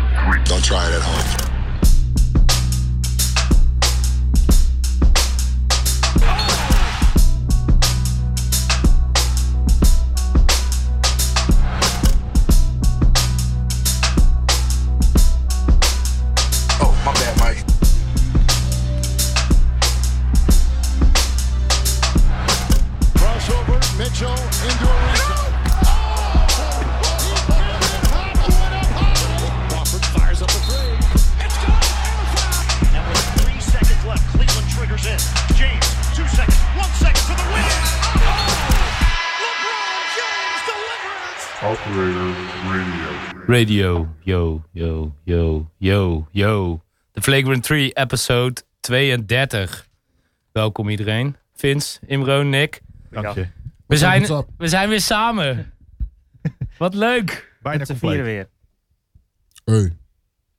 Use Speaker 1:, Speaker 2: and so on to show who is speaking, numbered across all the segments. Speaker 1: and try it at home. Oh, my bad, Mike.
Speaker 2: Crossover, Mitchell into a red zone. Crawford fires up a three.
Speaker 3: And with three seconds left, Cleveland triggers in. James, two seconds, one second for the win. Oh! LeBron James delivers.
Speaker 4: Operator Radio.
Speaker 5: Radio, yo, yo, yo, yo, yo. De Flagrant 3, episode 32. Welkom iedereen. Vince, Imro, Nick.
Speaker 6: Dank je.
Speaker 5: We zijn,
Speaker 6: what's up?
Speaker 5: we zijn weer samen. Wat leuk.
Speaker 6: Bijna
Speaker 7: Met z'n vieren weer.
Speaker 6: Hey,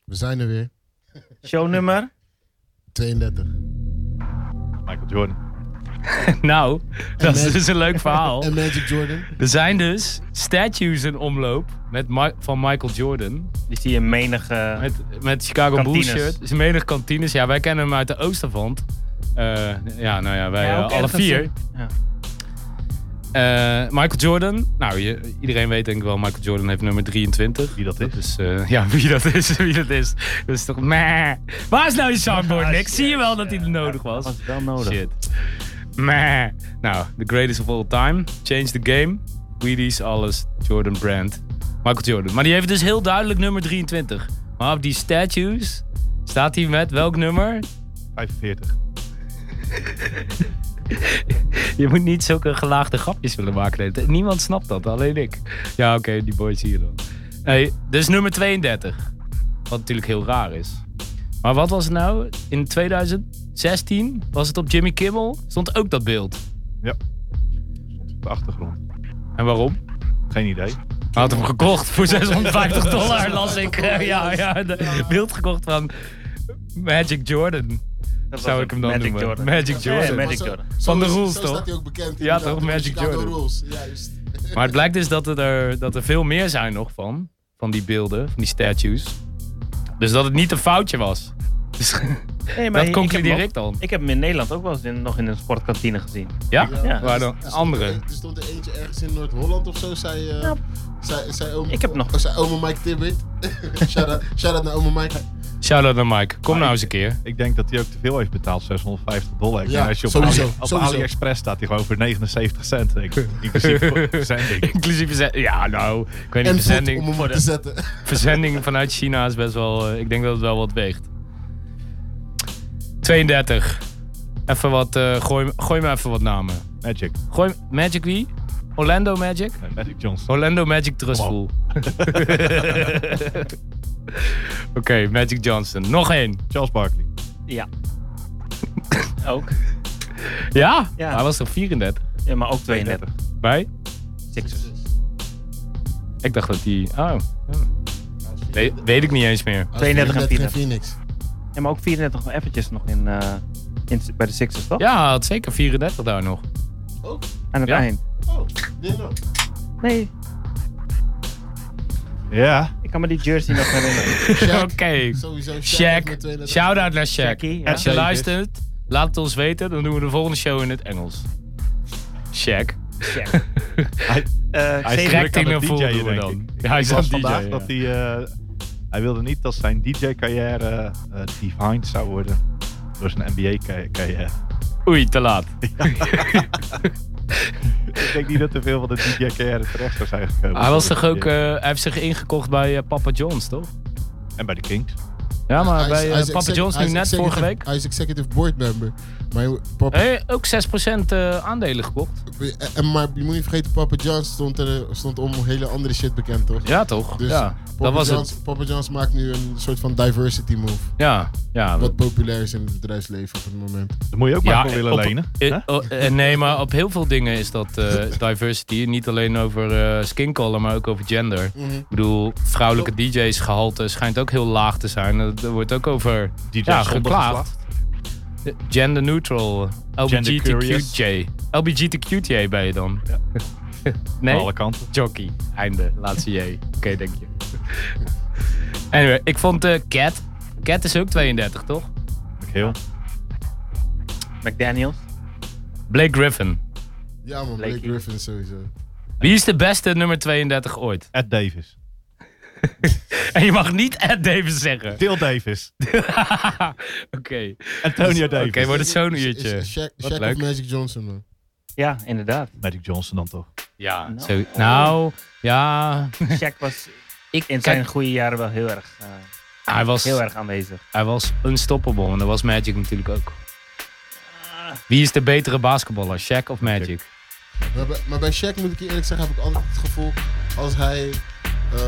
Speaker 6: we zijn er weer.
Speaker 7: Shownummer?
Speaker 6: 32.
Speaker 4: Michael Jordan.
Speaker 5: Nou, dat is
Speaker 6: mensen-
Speaker 5: dus een leuk verhaal.
Speaker 6: En Magic Jordan.
Speaker 5: Er zijn dus statues in omloop met Mi- van Michael Jordan.
Speaker 7: Die zie je menig. eh,
Speaker 5: Met, met Chicago Bulls
Speaker 7: Kantines.
Speaker 5: shirt. Is menig kantines. Ja, wij kennen hem uit de Oostervand. Eh, ja, nou ja, wij eh,
Speaker 7: Ja, ook
Speaker 5: alle
Speaker 7: ergens
Speaker 5: vier.
Speaker 7: een- ja.
Speaker 5: Eh, Michael Jordan. Nou, je, iedereen weet denk ik wel, Michael Jordan heeft nummer 23.
Speaker 4: Wie dat is.
Speaker 5: Dus eh, ja, wie dat is, wie dat is. Dat is toch meh. Waar is nou je soundboard,
Speaker 7: Ah,
Speaker 5: Nick? Zie je wel
Speaker 7: shit,
Speaker 5: dat hij
Speaker 7: ja.
Speaker 5: er nodig was?
Speaker 7: Dat was wel nodig.
Speaker 5: Shit. Meh. Nou, the greatest of all time. Change the game. Wheaties, alles. Jordan Brand. Michael Jordan. Maar die heeft dus heel duidelijk nummer 23. Maar op die statues staat hij met welk nummer?
Speaker 4: 45.
Speaker 5: Je moet niet zulke gelaagde grapjes willen maken. de hele tijd. Niemand snapt dat, alleen ik. Ja, oké, die boys hier dan. Hey, dus nummer 32. Wat natuurlijk heel raar is. Maar wat was het nou? In 2016 was het op Jimmy Kimmel. Stond ook dat beeld.
Speaker 4: Op de achtergrond.
Speaker 5: En waarom?
Speaker 4: Geen idee.
Speaker 5: Hij had hem gekocht voor 650 dollar, las ik. Eh, Ja, ja, de beeld gekocht van Magic Jordan.
Speaker 7: Dat
Speaker 5: Zou
Speaker 7: was
Speaker 5: ik hem dan
Speaker 7: Magic
Speaker 5: noemen?
Speaker 7: Jordan.
Speaker 5: Magic
Speaker 7: Ja,
Speaker 5: Jordan.
Speaker 7: Magic
Speaker 6: Zo-
Speaker 7: Jordan.
Speaker 6: zo
Speaker 5: Van de
Speaker 6: is-
Speaker 5: rules,
Speaker 6: zo
Speaker 5: toch?
Speaker 6: staat hij ook bekend.
Speaker 5: Ja,
Speaker 6: inderdaad,
Speaker 5: toch,
Speaker 6: door de
Speaker 5: Magic
Speaker 6: Chicago
Speaker 5: Jordan.
Speaker 6: Rules, juist.
Speaker 5: Maar het blijkt dus dat, het er, dat er veel meer zijn nog van. Van die beelden, van die statues. Dus dat het niet een foutje was. Dus,
Speaker 7: Nee,
Speaker 5: dat
Speaker 7: ik-
Speaker 5: concludeer
Speaker 7: ik, heb
Speaker 5: ik dan.
Speaker 7: hem ook- ik heb hem in Nederland ook wel eens in- nog in een sportkantine gezien.
Speaker 5: Ja?
Speaker 7: Ja.
Speaker 5: Waar dan?
Speaker 6: Er stond
Speaker 5: Andere.
Speaker 6: er- Er stond er eentje ergens in Noord-Holland of zo, zei, eh
Speaker 7: Ja.
Speaker 6: zei, zei oom,
Speaker 7: Ik heb nog-
Speaker 6: oh, zei oma Mike Tibbet. Shout-out shout-out naar oma Mike.
Speaker 5: Shout-out naar Mike. Kom
Speaker 4: Maar
Speaker 5: nou
Speaker 4: ik-
Speaker 5: eens een keer.
Speaker 4: Ik denk dat hij ook te veel heeft betaald, 650 dollar. Ik
Speaker 6: Ja,
Speaker 4: denk, als je op,
Speaker 6: sowieso,
Speaker 4: Ali- op
Speaker 6: sowieso.
Speaker 4: AliExpress staat hij gewoon voor 79 cent. denk ik. Inclusief voor zending.
Speaker 5: Inclusief verzending. Ja, nou. Ik weet niet,
Speaker 6: En voet om
Speaker 5: verzending,
Speaker 6: hem op te zetten.
Speaker 5: verzending vanuit China is best wel... eh, ik denk dat het wel wat weegt. 32. Even wat... eh, gooi, gooi me even wat namen.
Speaker 4: Magic.
Speaker 5: Gooi Magic wie? Orlando Magic?
Speaker 4: Nee, Magic Johnson.
Speaker 5: Orlando Magic Trustful. Oké, Magic Johnson. Nog één.
Speaker 4: Charles Barkley.
Speaker 7: Ja. ook.
Speaker 5: Ja?
Speaker 7: Ja.
Speaker 5: Hij was er 34
Speaker 7: Ja, maar ook 32.
Speaker 5: bij.
Speaker 7: Sixers.
Speaker 5: Ik dacht dat hij... Oh. Weet, weet ik niet eens meer.
Speaker 7: 32 en
Speaker 6: Net geen
Speaker 7: 34.
Speaker 6: Phoenix.
Speaker 7: Ja, maar ook 34 nog eventjes nog in, eh, in, bij de Sixers, toch?
Speaker 5: Ja, hij had zeker 34 daar nog.
Speaker 6: Oh,
Speaker 7: Aan het
Speaker 5: Ja.
Speaker 7: eind.
Speaker 6: oh, dit nog.
Speaker 7: Nee,
Speaker 4: Ja.
Speaker 7: ik kan me die jersey nog herinneren.
Speaker 5: Oké.
Speaker 6: Shaq. Sowieso
Speaker 5: Shaq.
Speaker 6: met 32.
Speaker 5: Shout-out naar Shaq.
Speaker 7: Shaqie, ja.
Speaker 5: Als je luistert, laat het ons weten. Dan doen we de volgende show in het Engels. Shaq.
Speaker 7: Shaq.
Speaker 4: Hij,
Speaker 7: Eh,
Speaker 4: hij is
Speaker 5: Crack
Speaker 7: zeven-
Speaker 4: direct aan
Speaker 5: team
Speaker 4: het
Speaker 5: en vol
Speaker 4: DJ'en,
Speaker 5: doen we
Speaker 4: denk
Speaker 5: dan.
Speaker 4: ik. Ik
Speaker 5: Ja, hij is
Speaker 4: las
Speaker 5: aan het
Speaker 4: vandaag
Speaker 5: DJ'en,
Speaker 4: dat hij...
Speaker 5: ja.
Speaker 4: eh, hij wilde niet dat zijn DJ-carrière eh, eh, defined zou worden door zijn NBA-carrière.
Speaker 5: Oei, te laat.
Speaker 4: Ik denk niet dat er veel van de DJ-carrière terecht zou zijn gekomen.
Speaker 5: Hij, was toch ook, eh, hij heeft zich ingekocht bij eh, Papa John's, toch? eh,
Speaker 4: En bij de Kings.
Speaker 5: Ja, maar
Speaker 6: Hij is-
Speaker 5: bij
Speaker 6: hij
Speaker 5: eh,
Speaker 6: is
Speaker 5: Papa
Speaker 6: exec-
Speaker 5: John's
Speaker 6: hij
Speaker 5: nu
Speaker 6: is
Speaker 5: net vorige
Speaker 6: executive-
Speaker 5: week.
Speaker 6: Hij is executive board member. Maar Papa,
Speaker 5: Hé, ook 6% eh, aandelen gekocht.
Speaker 6: en, maar je moet niet vergeten, Papa John's stond, er, stond om hele andere shit bekend, toch?
Speaker 5: Ja, toch?
Speaker 6: Dus
Speaker 5: ja,
Speaker 6: Papa,
Speaker 5: dat was
Speaker 6: John's,
Speaker 5: het.
Speaker 6: Papa John's maakt nu een soort van diversity move.
Speaker 5: Ja, ja.
Speaker 6: Wat populair is in het bedrijfsleven op het moment.
Speaker 4: Daar moet je ook
Speaker 5: ja,
Speaker 4: maar voor willen
Speaker 5: op-
Speaker 4: lenen.
Speaker 5: eh,
Speaker 4: hè?
Speaker 5: oh, eh, nee, maar op heel veel dingen is dat eh, diversity. Niet alleen over eh skincolor, maar ook over gender.
Speaker 4: Mhm.
Speaker 5: Ik bedoel, vrouwelijke DJ's gehalte schijnt ook heel laag te zijn. Er er wordt ook over
Speaker 4: DJ's
Speaker 5: ja,
Speaker 4: zonder
Speaker 5: geklaagd. Eh, Gender neutral. eh,
Speaker 4: Gender
Speaker 5: LBGTQJ.
Speaker 4: curious.
Speaker 5: LBGTQJ ben je dan?
Speaker 4: Aan
Speaker 5: Nee?
Speaker 4: alle kanten.
Speaker 5: Jockey. Einde. Laatste J. Oké, denk je. Anyway, ik vond eh, Cat. Cat is ook 32, toch?
Speaker 4: McHale.
Speaker 7: McDaniels.
Speaker 5: Blake Griffin.
Speaker 6: Ja man, Blake
Speaker 7: Blakey.
Speaker 6: Griffin sowieso.
Speaker 5: Wie is de beste nummer 32 ooit?
Speaker 4: Ed Davis.
Speaker 5: En je mag niet Ed Davis zeggen.
Speaker 4: Deel Davis.
Speaker 5: Oké.
Speaker 4: Antonio Davis.
Speaker 5: Oké, wordt het zo'n
Speaker 6: Is- is-
Speaker 5: uurtje.
Speaker 6: is Shaq,
Speaker 5: Wat
Speaker 6: Shaq
Speaker 5: leuk.
Speaker 6: of Magic Johnson man.
Speaker 7: Ja, inderdaad.
Speaker 4: Magic Johnson dan toch?
Speaker 5: Ja.
Speaker 7: Nou.
Speaker 5: zo- nou, ja.
Speaker 7: Shaq was
Speaker 5: Ik,
Speaker 7: in zijn goede jaren wel heel erg, eh,
Speaker 5: hij, was,
Speaker 7: heel erg aanwezig.
Speaker 5: hij was unstoppable. En dat was Magic natuurlijk ook. Wie is de betere basketballer? Shaq of Magic?
Speaker 6: Maar bij, maar bij Shaq moet ik je eerlijk zeggen, heb ik altijd het gevoel als hij eh,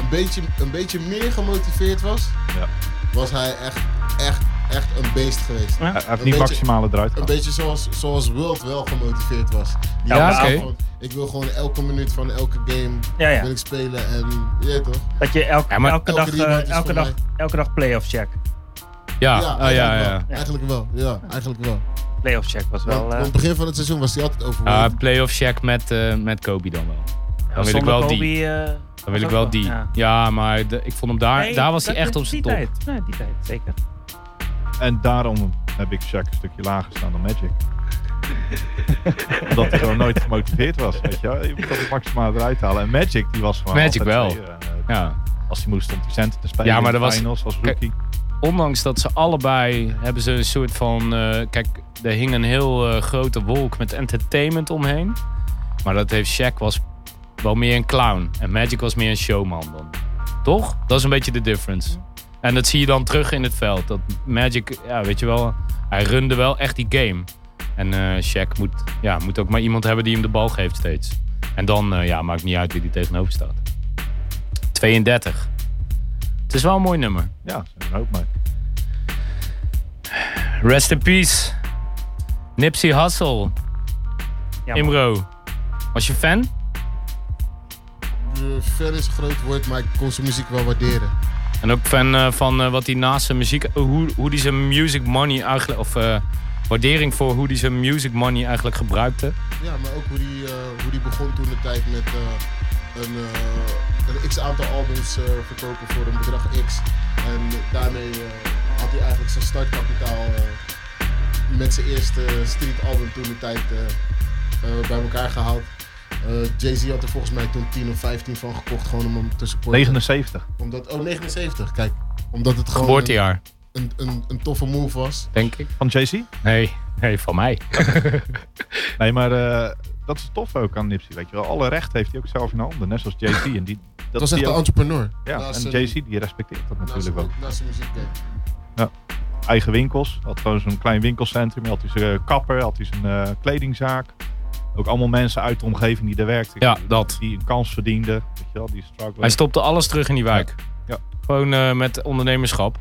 Speaker 6: een, beetje, een beetje meer gemotiveerd was,
Speaker 4: Ja.
Speaker 6: was hij echt, echt, echt een beest geweest.
Speaker 4: Hij, hij heeft
Speaker 6: Een
Speaker 4: niet
Speaker 6: beetje-
Speaker 4: maximale eruit
Speaker 6: Een
Speaker 4: gehaald.
Speaker 6: beetje zoals, zoals Wild wel gemotiveerd was. Die
Speaker 5: Ja,
Speaker 6: was
Speaker 5: oké.
Speaker 6: gewoon, Ik wil gewoon elke minuut van elke game
Speaker 7: Ja, Ah ja.
Speaker 6: wil ik spelen en je weet toch?
Speaker 7: Dat je elk-
Speaker 5: Ja, maar-
Speaker 7: elke,
Speaker 6: Elke
Speaker 7: dag, eh,
Speaker 6: rebound is
Speaker 7: elke,
Speaker 6: voor
Speaker 7: dag, elke dag playoff Shaq.
Speaker 5: Ja, oh, ja,
Speaker 6: eigenlijk
Speaker 5: ja.
Speaker 6: Wel. Eigenlijk wel, ja, eigenlijk wel.
Speaker 7: Playoff Shaq
Speaker 6: Want,
Speaker 7: was wel...
Speaker 6: want
Speaker 7: eh
Speaker 6: het begin van het seizoen was hij altijd
Speaker 5: Ja,
Speaker 6: overwonnen.
Speaker 5: playoff Shaq met, eh, met Kobe dan wel. Dan wil ik
Speaker 7: zonder
Speaker 5: wel die.
Speaker 7: Kobe, eh,
Speaker 5: Dan
Speaker 7: was
Speaker 5: wil ik
Speaker 7: ook
Speaker 5: wel die.
Speaker 7: ja.
Speaker 5: Ja, maar de- ik vond hem daar,
Speaker 7: Nee,
Speaker 5: daar was hij
Speaker 7: dat
Speaker 5: echt
Speaker 7: is
Speaker 5: op zijn
Speaker 7: die
Speaker 5: top.
Speaker 7: Tijd. Nee, die tijd, zeker.
Speaker 4: En daarom heb ik Shaq een stukje lager staan dan Magic. Omdat hij gewoon nooit gemotiveerd was, weet je wel. Je moet dat het maximale eruit halen. En Magic, die was gewoon
Speaker 5: Magic
Speaker 4: altijd
Speaker 5: wel.
Speaker 4: twee, eh,
Speaker 5: Ja.
Speaker 4: Als hij moest om die centen te spelen
Speaker 5: Ja, maar
Speaker 4: in de
Speaker 5: dat was-
Speaker 4: finals als rookie.
Speaker 5: Ondanks dat ze allebei hebben ze een soort van... eh, kijk, er hing een heel eh, grote wolk met entertainment omheen. Maar dat heeft Shaq was wel meer een clown. En Magic was meer een showman dan. Toch? Dat is een beetje de difference. En dat zie je dan terug in het veld. Dat Magic, ja, weet je wel... Hij runde wel echt die game. En eh Shaq moet, ja, moet ook maar iemand hebben die hem de bal geeft steeds. En dan eh, ja, maakt niet uit wie die tegenover staat. 32. Het is wel een mooi nummer.
Speaker 4: Ja, dat is een hoop maar.
Speaker 5: Rest in peace. Nipsey Hussle.
Speaker 7: Ja, man.
Speaker 5: Imro. Was je fan?
Speaker 6: Eh, Fan is een groot woord, maar ik kon zijn muziek wel waarderen.
Speaker 5: En ook fan eh, van eh, wat hij naast zijn muziek... hoe, hoe hij zijn music money eigenlijk... Of eh, waardering voor hoe hij zijn music money eigenlijk gebruikte.
Speaker 6: Ja, maar ook hoe die, eh, hoe die begon toen de tijd met eh, een, eh, een x aantal albums eh, verkopen voor een bedrag X. En daarmee eh, had hij eigenlijk zijn startkapitaal eh, met zijn eerste streetalbum toen de tijd eh, eh, bij elkaar gehaald. Eh, Jay-Z had er volgens mij toen 10 of 15 van gekocht, gewoon om hem te supporten.
Speaker 4: 79.
Speaker 6: Omdat, oh, 79, kijk. Omdat het gewoon een,
Speaker 5: Geboortejaar,
Speaker 6: een, een, een toffe move was.
Speaker 5: denk ik.
Speaker 4: Van Jay-Z?
Speaker 5: Nee, nee van mij.
Speaker 4: Nee, maar eh, dat is tof ook aan Nipsey, weet je wel. Alle recht heeft hij ook zelf in handen, net zoals Jay-Z. En die,
Speaker 6: Dat was echt
Speaker 4: die
Speaker 6: een
Speaker 4: ook-
Speaker 6: entrepreneur.
Speaker 4: Ja,
Speaker 6: naast
Speaker 4: en
Speaker 6: zijn-
Speaker 4: Jay-Z die respecteert dat
Speaker 6: naast
Speaker 4: natuurlijk
Speaker 6: zijn-
Speaker 4: wel.
Speaker 6: Naast zijn muziek, kijk.
Speaker 4: Eigen winkels, had gewoon zo'n klein winkelcentrum. Had hij zijn eh, kapper, had hij zijn eh, kledingzaak. Ook allemaal mensen uit de omgeving die er werkten.
Speaker 5: Ja, dat.
Speaker 4: Die een kans verdienden, weet je wel, die struggle.
Speaker 5: Hij stopte alles terug in die wijk.
Speaker 4: Ja.
Speaker 5: Gewoon eh, met ondernemerschap.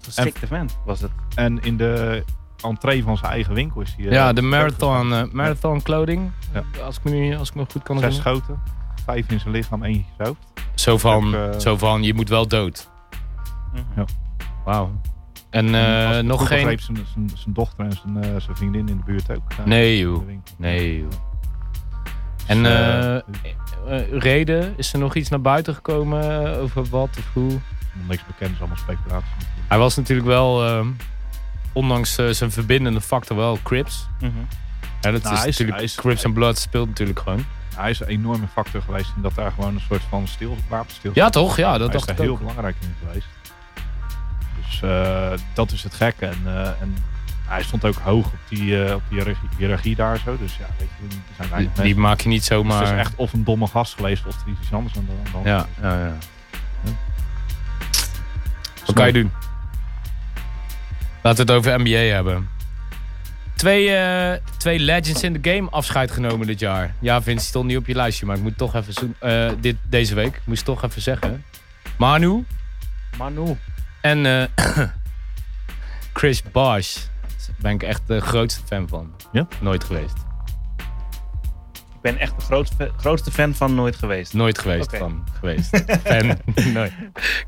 Speaker 7: Geschikte vent was het.
Speaker 4: En in de entree van zijn eigen winkel is hij... eh,
Speaker 5: Ja, de marathon, eh, marathon clothing.
Speaker 4: Ja.
Speaker 5: Als, ik me, nu- als ik me goed kan
Speaker 4: Zes
Speaker 5: herinneren.
Speaker 4: schoten, vijf in zijn lichaam, één in zijn hoofd.
Speaker 5: Zo van,
Speaker 4: Ook, eh,
Speaker 5: zo van je moet wel dood.
Speaker 7: Mhm.
Speaker 4: Ja.
Speaker 5: Wauw. En eh,
Speaker 4: Als ik het
Speaker 5: nog
Speaker 4: goed
Speaker 5: geen...
Speaker 4: begreep, zijn, zijn, zijn dochter en zijn, eh, zijn vriendin in de buurt ook. eh,
Speaker 5: Nee,
Speaker 4: in de
Speaker 5: joh.
Speaker 4: winkel. Dus,
Speaker 5: Nee, joh. En
Speaker 4: eh,
Speaker 5: eh, eh, reden, is er nog iets naar buiten gekomen eh, over wat of hoe?
Speaker 4: Nog niks bekend, is allemaal speculatie. natuurlijk.
Speaker 5: Hij was natuurlijk wel, eh, ondanks eh, zijn verbindende factor, wel Crips.
Speaker 7: Mhm.
Speaker 5: Ja, dat is
Speaker 4: Nou, hij is-
Speaker 5: natuurlijk,
Speaker 4: hij is-
Speaker 5: Crips en Blood speelt natuurlijk gewoon.
Speaker 4: Hij is een enorme factor geweest in dat daar gewoon een soort van stil, wapenstil
Speaker 5: Ja, toch? Ja, dat
Speaker 4: Hij is
Speaker 5: dacht
Speaker 4: daar
Speaker 5: ik
Speaker 4: heel
Speaker 5: ook.
Speaker 4: belangrijk in geweest. Dus eh, dat is het gekke. En, eh, en hij stond ook hoog op die, eh, op die hiërarchie, hiërarchie daar zo. Dus ja, weet je, er zijn weinig
Speaker 5: Die
Speaker 4: mensen.
Speaker 5: maak je niet
Speaker 4: Dus
Speaker 5: zomaar...
Speaker 4: het is echt of een domme gast geweest of er is iets anders aan de aan de hand.
Speaker 5: Ja,
Speaker 4: geweest.
Speaker 5: ja, ja.
Speaker 4: Ja. Dus
Speaker 5: Wat kan je doen? Laten we het over NBA hebben. Twee, eh, twee Legends in the Game afscheid genomen dit jaar. Ja, Vince, die stond niet op je lijstje, maar ik moet toch even zo- eh, dit, deze week, ik moest toch even zeggen. Manu
Speaker 7: Manu.
Speaker 5: en eh, Chris Bosh. Daar ben ik echt de grootste fan van.
Speaker 4: Ja?
Speaker 5: Nooit geweest.
Speaker 7: Ik ben echt de grootste, grootste fan van nooit geweest.
Speaker 5: Nooit geweest
Speaker 7: Oké.
Speaker 5: van geweest. Fan. Nooit.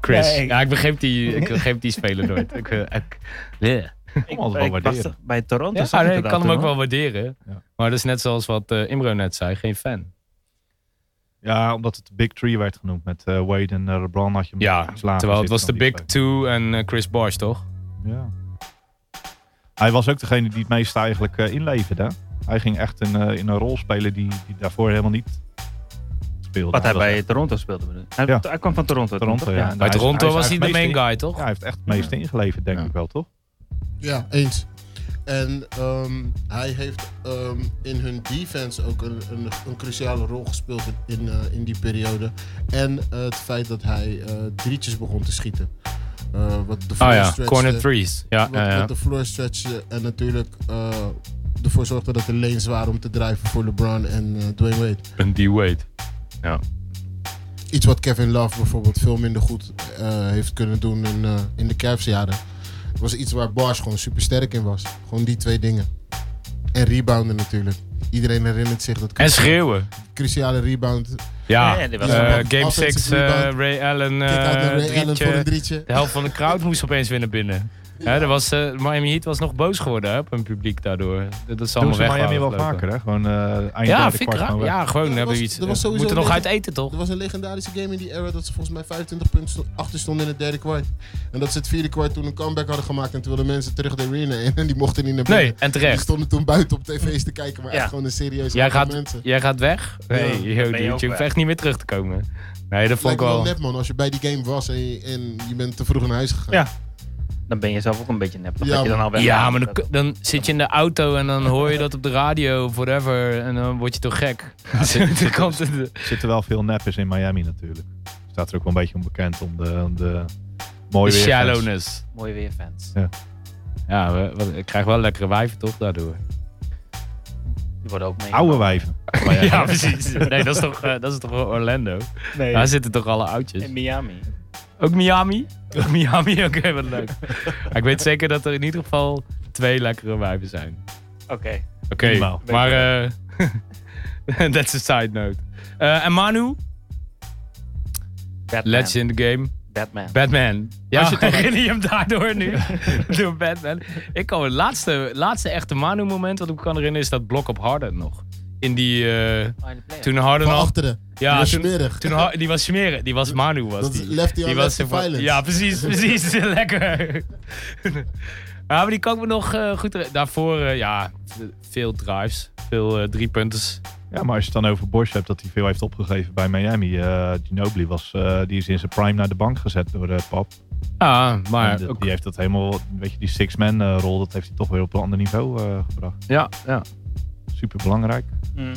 Speaker 5: Chris.
Speaker 7: Nee, ik-
Speaker 5: Ja, ik begreep die, ik begreep die speler nooit. Ik, eh, ik, bleh.
Speaker 7: Ik,
Speaker 4: alles wel
Speaker 7: ik was
Speaker 4: waarderen.
Speaker 7: toch bij Toronto.
Speaker 5: Ja,
Speaker 7: zag
Speaker 5: nee, ik
Speaker 7: dat
Speaker 5: kan hem
Speaker 7: toen,
Speaker 5: ook wel
Speaker 7: hoor.
Speaker 5: waarderen.
Speaker 4: Ja.
Speaker 5: Maar dat is net zoals wat eh, Imro net zei, geen fan.
Speaker 4: Ja, omdat het de Big Three werd genoemd. Met eh, Wade en eh, LeBron had je hem
Speaker 5: Ja,
Speaker 4: iets lager
Speaker 5: dus terwijl het was de
Speaker 4: zitten
Speaker 5: Big
Speaker 4: dan die
Speaker 5: Two en eh, Chris Bosh, toch?
Speaker 4: twee. Ja. Hij was ook degene die het meest eigenlijk eh, inleverde. Hij ging echt in, eh, in een rol spelen die, die daarvoor helemaal niet speelde.
Speaker 7: Wat hij
Speaker 4: was
Speaker 7: bij
Speaker 4: echt
Speaker 7: Toronto speelde. bedoel ik. Hij,
Speaker 4: Ja.
Speaker 7: hij kwam van Toronto.
Speaker 4: Toronto,
Speaker 7: toch?
Speaker 4: ja. En
Speaker 5: Bij
Speaker 4: is-
Speaker 5: Toronto
Speaker 4: is
Speaker 5: was hij de
Speaker 4: eigenlijk
Speaker 5: main
Speaker 4: het meeste
Speaker 5: guy, toch? Ah,
Speaker 4: in- Ja, hij heeft echt het meeste ingeleverd, denk
Speaker 5: Ja.
Speaker 4: ik wel, toch?
Speaker 6: Ja, eens. En ehm, hij heeft ehm, in hun defense ook een, een, een cruciale rol gespeeld in, in, eh, in die periode. En eh, het feit dat hij eh, drietjes begon te schieten. Eh, wat de
Speaker 5: Oh
Speaker 6: floor
Speaker 5: ja,
Speaker 6: stretchte-
Speaker 5: corner threes. Ja,
Speaker 6: Wat,
Speaker 5: ja, ja.
Speaker 6: wat de floor stretchte en natuurlijk eh, ervoor zorgde dat de lanes waren om te drijven voor LeBron en eh, Dwayne Wade.
Speaker 5: En D-Wade.
Speaker 6: Iets wat Kevin Love bijvoorbeeld veel minder goed eh, heeft kunnen doen in, eh, in de Cavs jaren. Het was iets waar Bosch gewoon super sterk in was. Gewoon die twee dingen. En rebounden natuurlijk. Iedereen herinnert zich dat
Speaker 5: En schreeuwen.
Speaker 6: cruciale rebound.
Speaker 5: Ja,
Speaker 7: Ja, ja, die was-
Speaker 5: eh,
Speaker 6: Ja.
Speaker 5: Game
Speaker 6: Offensive
Speaker 5: 6,
Speaker 6: rebound.
Speaker 5: Ray Allen,
Speaker 6: Kijk uit naar
Speaker 5: eh
Speaker 6: Ray Allen voor een
Speaker 5: drietje.
Speaker 6: drietje.
Speaker 5: De helft van de crowd moest opeens weer naar binnen. Hè, er was, eh, Miami Heat was nog boos geworden hè, op hun publiek daardoor. Dat is
Speaker 4: Doen
Speaker 5: allemaal
Speaker 4: ze
Speaker 5: weg.
Speaker 4: Miami wel
Speaker 5: waren gelopen.
Speaker 4: vaker, hè? Gewoon eh eind
Speaker 5: Ja,
Speaker 4: derde
Speaker 5: vind ik
Speaker 4: kwart
Speaker 5: raar.
Speaker 4: gewoon weg.
Speaker 5: Ja, gewoon
Speaker 6: Ja, er
Speaker 5: hebben we
Speaker 6: was-
Speaker 5: iets.
Speaker 6: er was
Speaker 5: We
Speaker 6: sowieso
Speaker 5: moeten nog
Speaker 6: een
Speaker 5: uit
Speaker 6: beetje-
Speaker 5: eten, toch?
Speaker 6: Er was een legendarische game in die era dat ze volgens mij 25 punten sto- achter stonden in het derde kwart. En dat ze het vierde kwart toen een comeback hadden gemaakt en toen wilden mensen terug de arena in en die mochten niet naar binnen.
Speaker 5: Nee, en
Speaker 6: Die
Speaker 5: terecht.
Speaker 6: stonden toen buiten op tv's te kijken, maar
Speaker 7: Ja.
Speaker 6: echt gewoon een serieus
Speaker 5: Jij
Speaker 6: aantal
Speaker 5: gaat,
Speaker 6: mensen.
Speaker 5: jij gaat weg? Nee,
Speaker 6: Ja.
Speaker 5: yo,
Speaker 7: Ben je
Speaker 5: dude,
Speaker 7: ook
Speaker 5: je hoeft
Speaker 7: weg.
Speaker 5: echt niet meer terug te komen. Nee, dat vond ik
Speaker 6: Lijkt me wel
Speaker 5: wel.
Speaker 6: net man, als je bij die game was en je, en je bent te vroeg naar huis gegaan.
Speaker 7: Ja. Dan ben je zelf ook een beetje nep. toch?
Speaker 6: Ja,
Speaker 7: dat je dan
Speaker 6: man.
Speaker 7: al weg
Speaker 5: Ja,
Speaker 7: bent.
Speaker 5: maar dan,
Speaker 7: Dat-
Speaker 5: dan zit je in de auto en dan hoor je dat op de radio, whatever. En dan word je toch gek. Dan komt het-
Speaker 4: Er zitten wel veel nappers in Miami natuurlijk. Staat er ook wel een beetje onbekend om de, om de mooie
Speaker 5: de
Speaker 4: weer.
Speaker 5: shallowness.
Speaker 7: Mooi weer, fans.
Speaker 5: Ja, we- we- ik krijg wel lekkere wijven toch daardoor.
Speaker 7: Die worden ook mee.
Speaker 4: Oude wijven.
Speaker 5: Ja, precies. Nee, dat is toch, eh, dat is toch wel Orlando?
Speaker 7: Nee.
Speaker 5: Daar zitten toch alle oudjes?
Speaker 7: In Miami.
Speaker 5: Ook Miami? Ook Miami, oké, wat leuk. Maar ik weet zeker dat er in ieder geval twee lekkere wijven zijn.
Speaker 7: Oké.
Speaker 5: Oké,
Speaker 4: Minimaal.
Speaker 5: maar eh, that's a side note. Eh, en Manu,
Speaker 7: Batman.
Speaker 5: Let's in the game.
Speaker 7: Batman.
Speaker 5: Batman. Ja,
Speaker 4: Als je
Speaker 5: je
Speaker 4: het dan-
Speaker 5: herinner je hem daardoor nu? Door Batman. Ik kan het laatste, laatste echte Manu moment wat ik me kan herinneren is dat blok op Harden nog. In die, eh, toen Harden
Speaker 6: Van
Speaker 5: al...
Speaker 6: achteren.
Speaker 5: Ja,
Speaker 6: Die was
Speaker 5: toen-
Speaker 6: smerig.
Speaker 5: Toen ha- die was smeren, die was Manu was
Speaker 6: Dat is
Speaker 5: die.
Speaker 6: lefty on
Speaker 5: die was
Speaker 6: lefty
Speaker 5: ervan-
Speaker 6: violence.
Speaker 5: Ja, precies, precies, lekker. ja, maar die kan ik me nog eh, goed herinneren. daarvoor eh, ja veel drives, veel eh drie punters.
Speaker 4: Ja, maar als je het dan over Bosch hebt dat hij veel heeft opgegeven bij Miami. eh Ginobili was, eh, die is in zijn prime naar de bank gezet door de pap.
Speaker 5: Ja,
Speaker 4: En
Speaker 5: Ah, maar
Speaker 4: de-
Speaker 5: ook-
Speaker 4: Die heeft dat helemaal, weet je, die six-man eh, rol, dat heeft hij toch weer op een ander niveau eh, gebracht.
Speaker 5: ja, ja.
Speaker 4: Super belangrijk.
Speaker 7: Mm.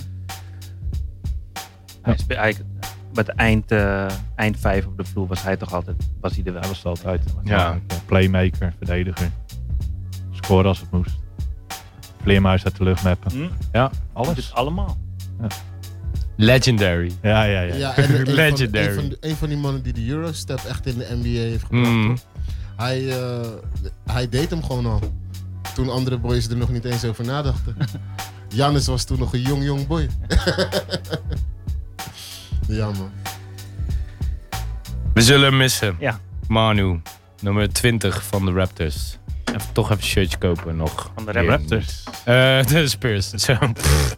Speaker 7: Hij spe- hij, met eind, eh, eind vijf op de vloer was hij toch altijd, was hij er wel.
Speaker 4: Hij was het altijd.
Speaker 5: Ja.
Speaker 4: Eh, Playmaker, verdediger. Scoren als het moest. Vleermuis uit de lucht mappen.
Speaker 7: Hm?
Speaker 5: ja.
Speaker 7: Alles. Dus allemaal.
Speaker 5: Legendary.
Speaker 4: Ja, ja, ja.
Speaker 6: Ja, en een,
Speaker 5: Legendary.
Speaker 6: Van, een, van, een van die mannen die de Eurostep echt in de NBA heeft gebracht.
Speaker 5: Mm.
Speaker 6: Hij, eh, hij deed hem gewoon al. Toen andere boys er nog niet eens over nadachten. Jannis was toen nog een jong, jong boy. ja, man.
Speaker 5: We zullen hem missen.
Speaker 7: Ja.
Speaker 5: Manu, nummer 20 van de Raptors. Even, toch even een shirtje kopen nog.
Speaker 7: Van de
Speaker 5: Weer.
Speaker 7: Raptors.
Speaker 5: Eh, de Spurs. Zo. Pff.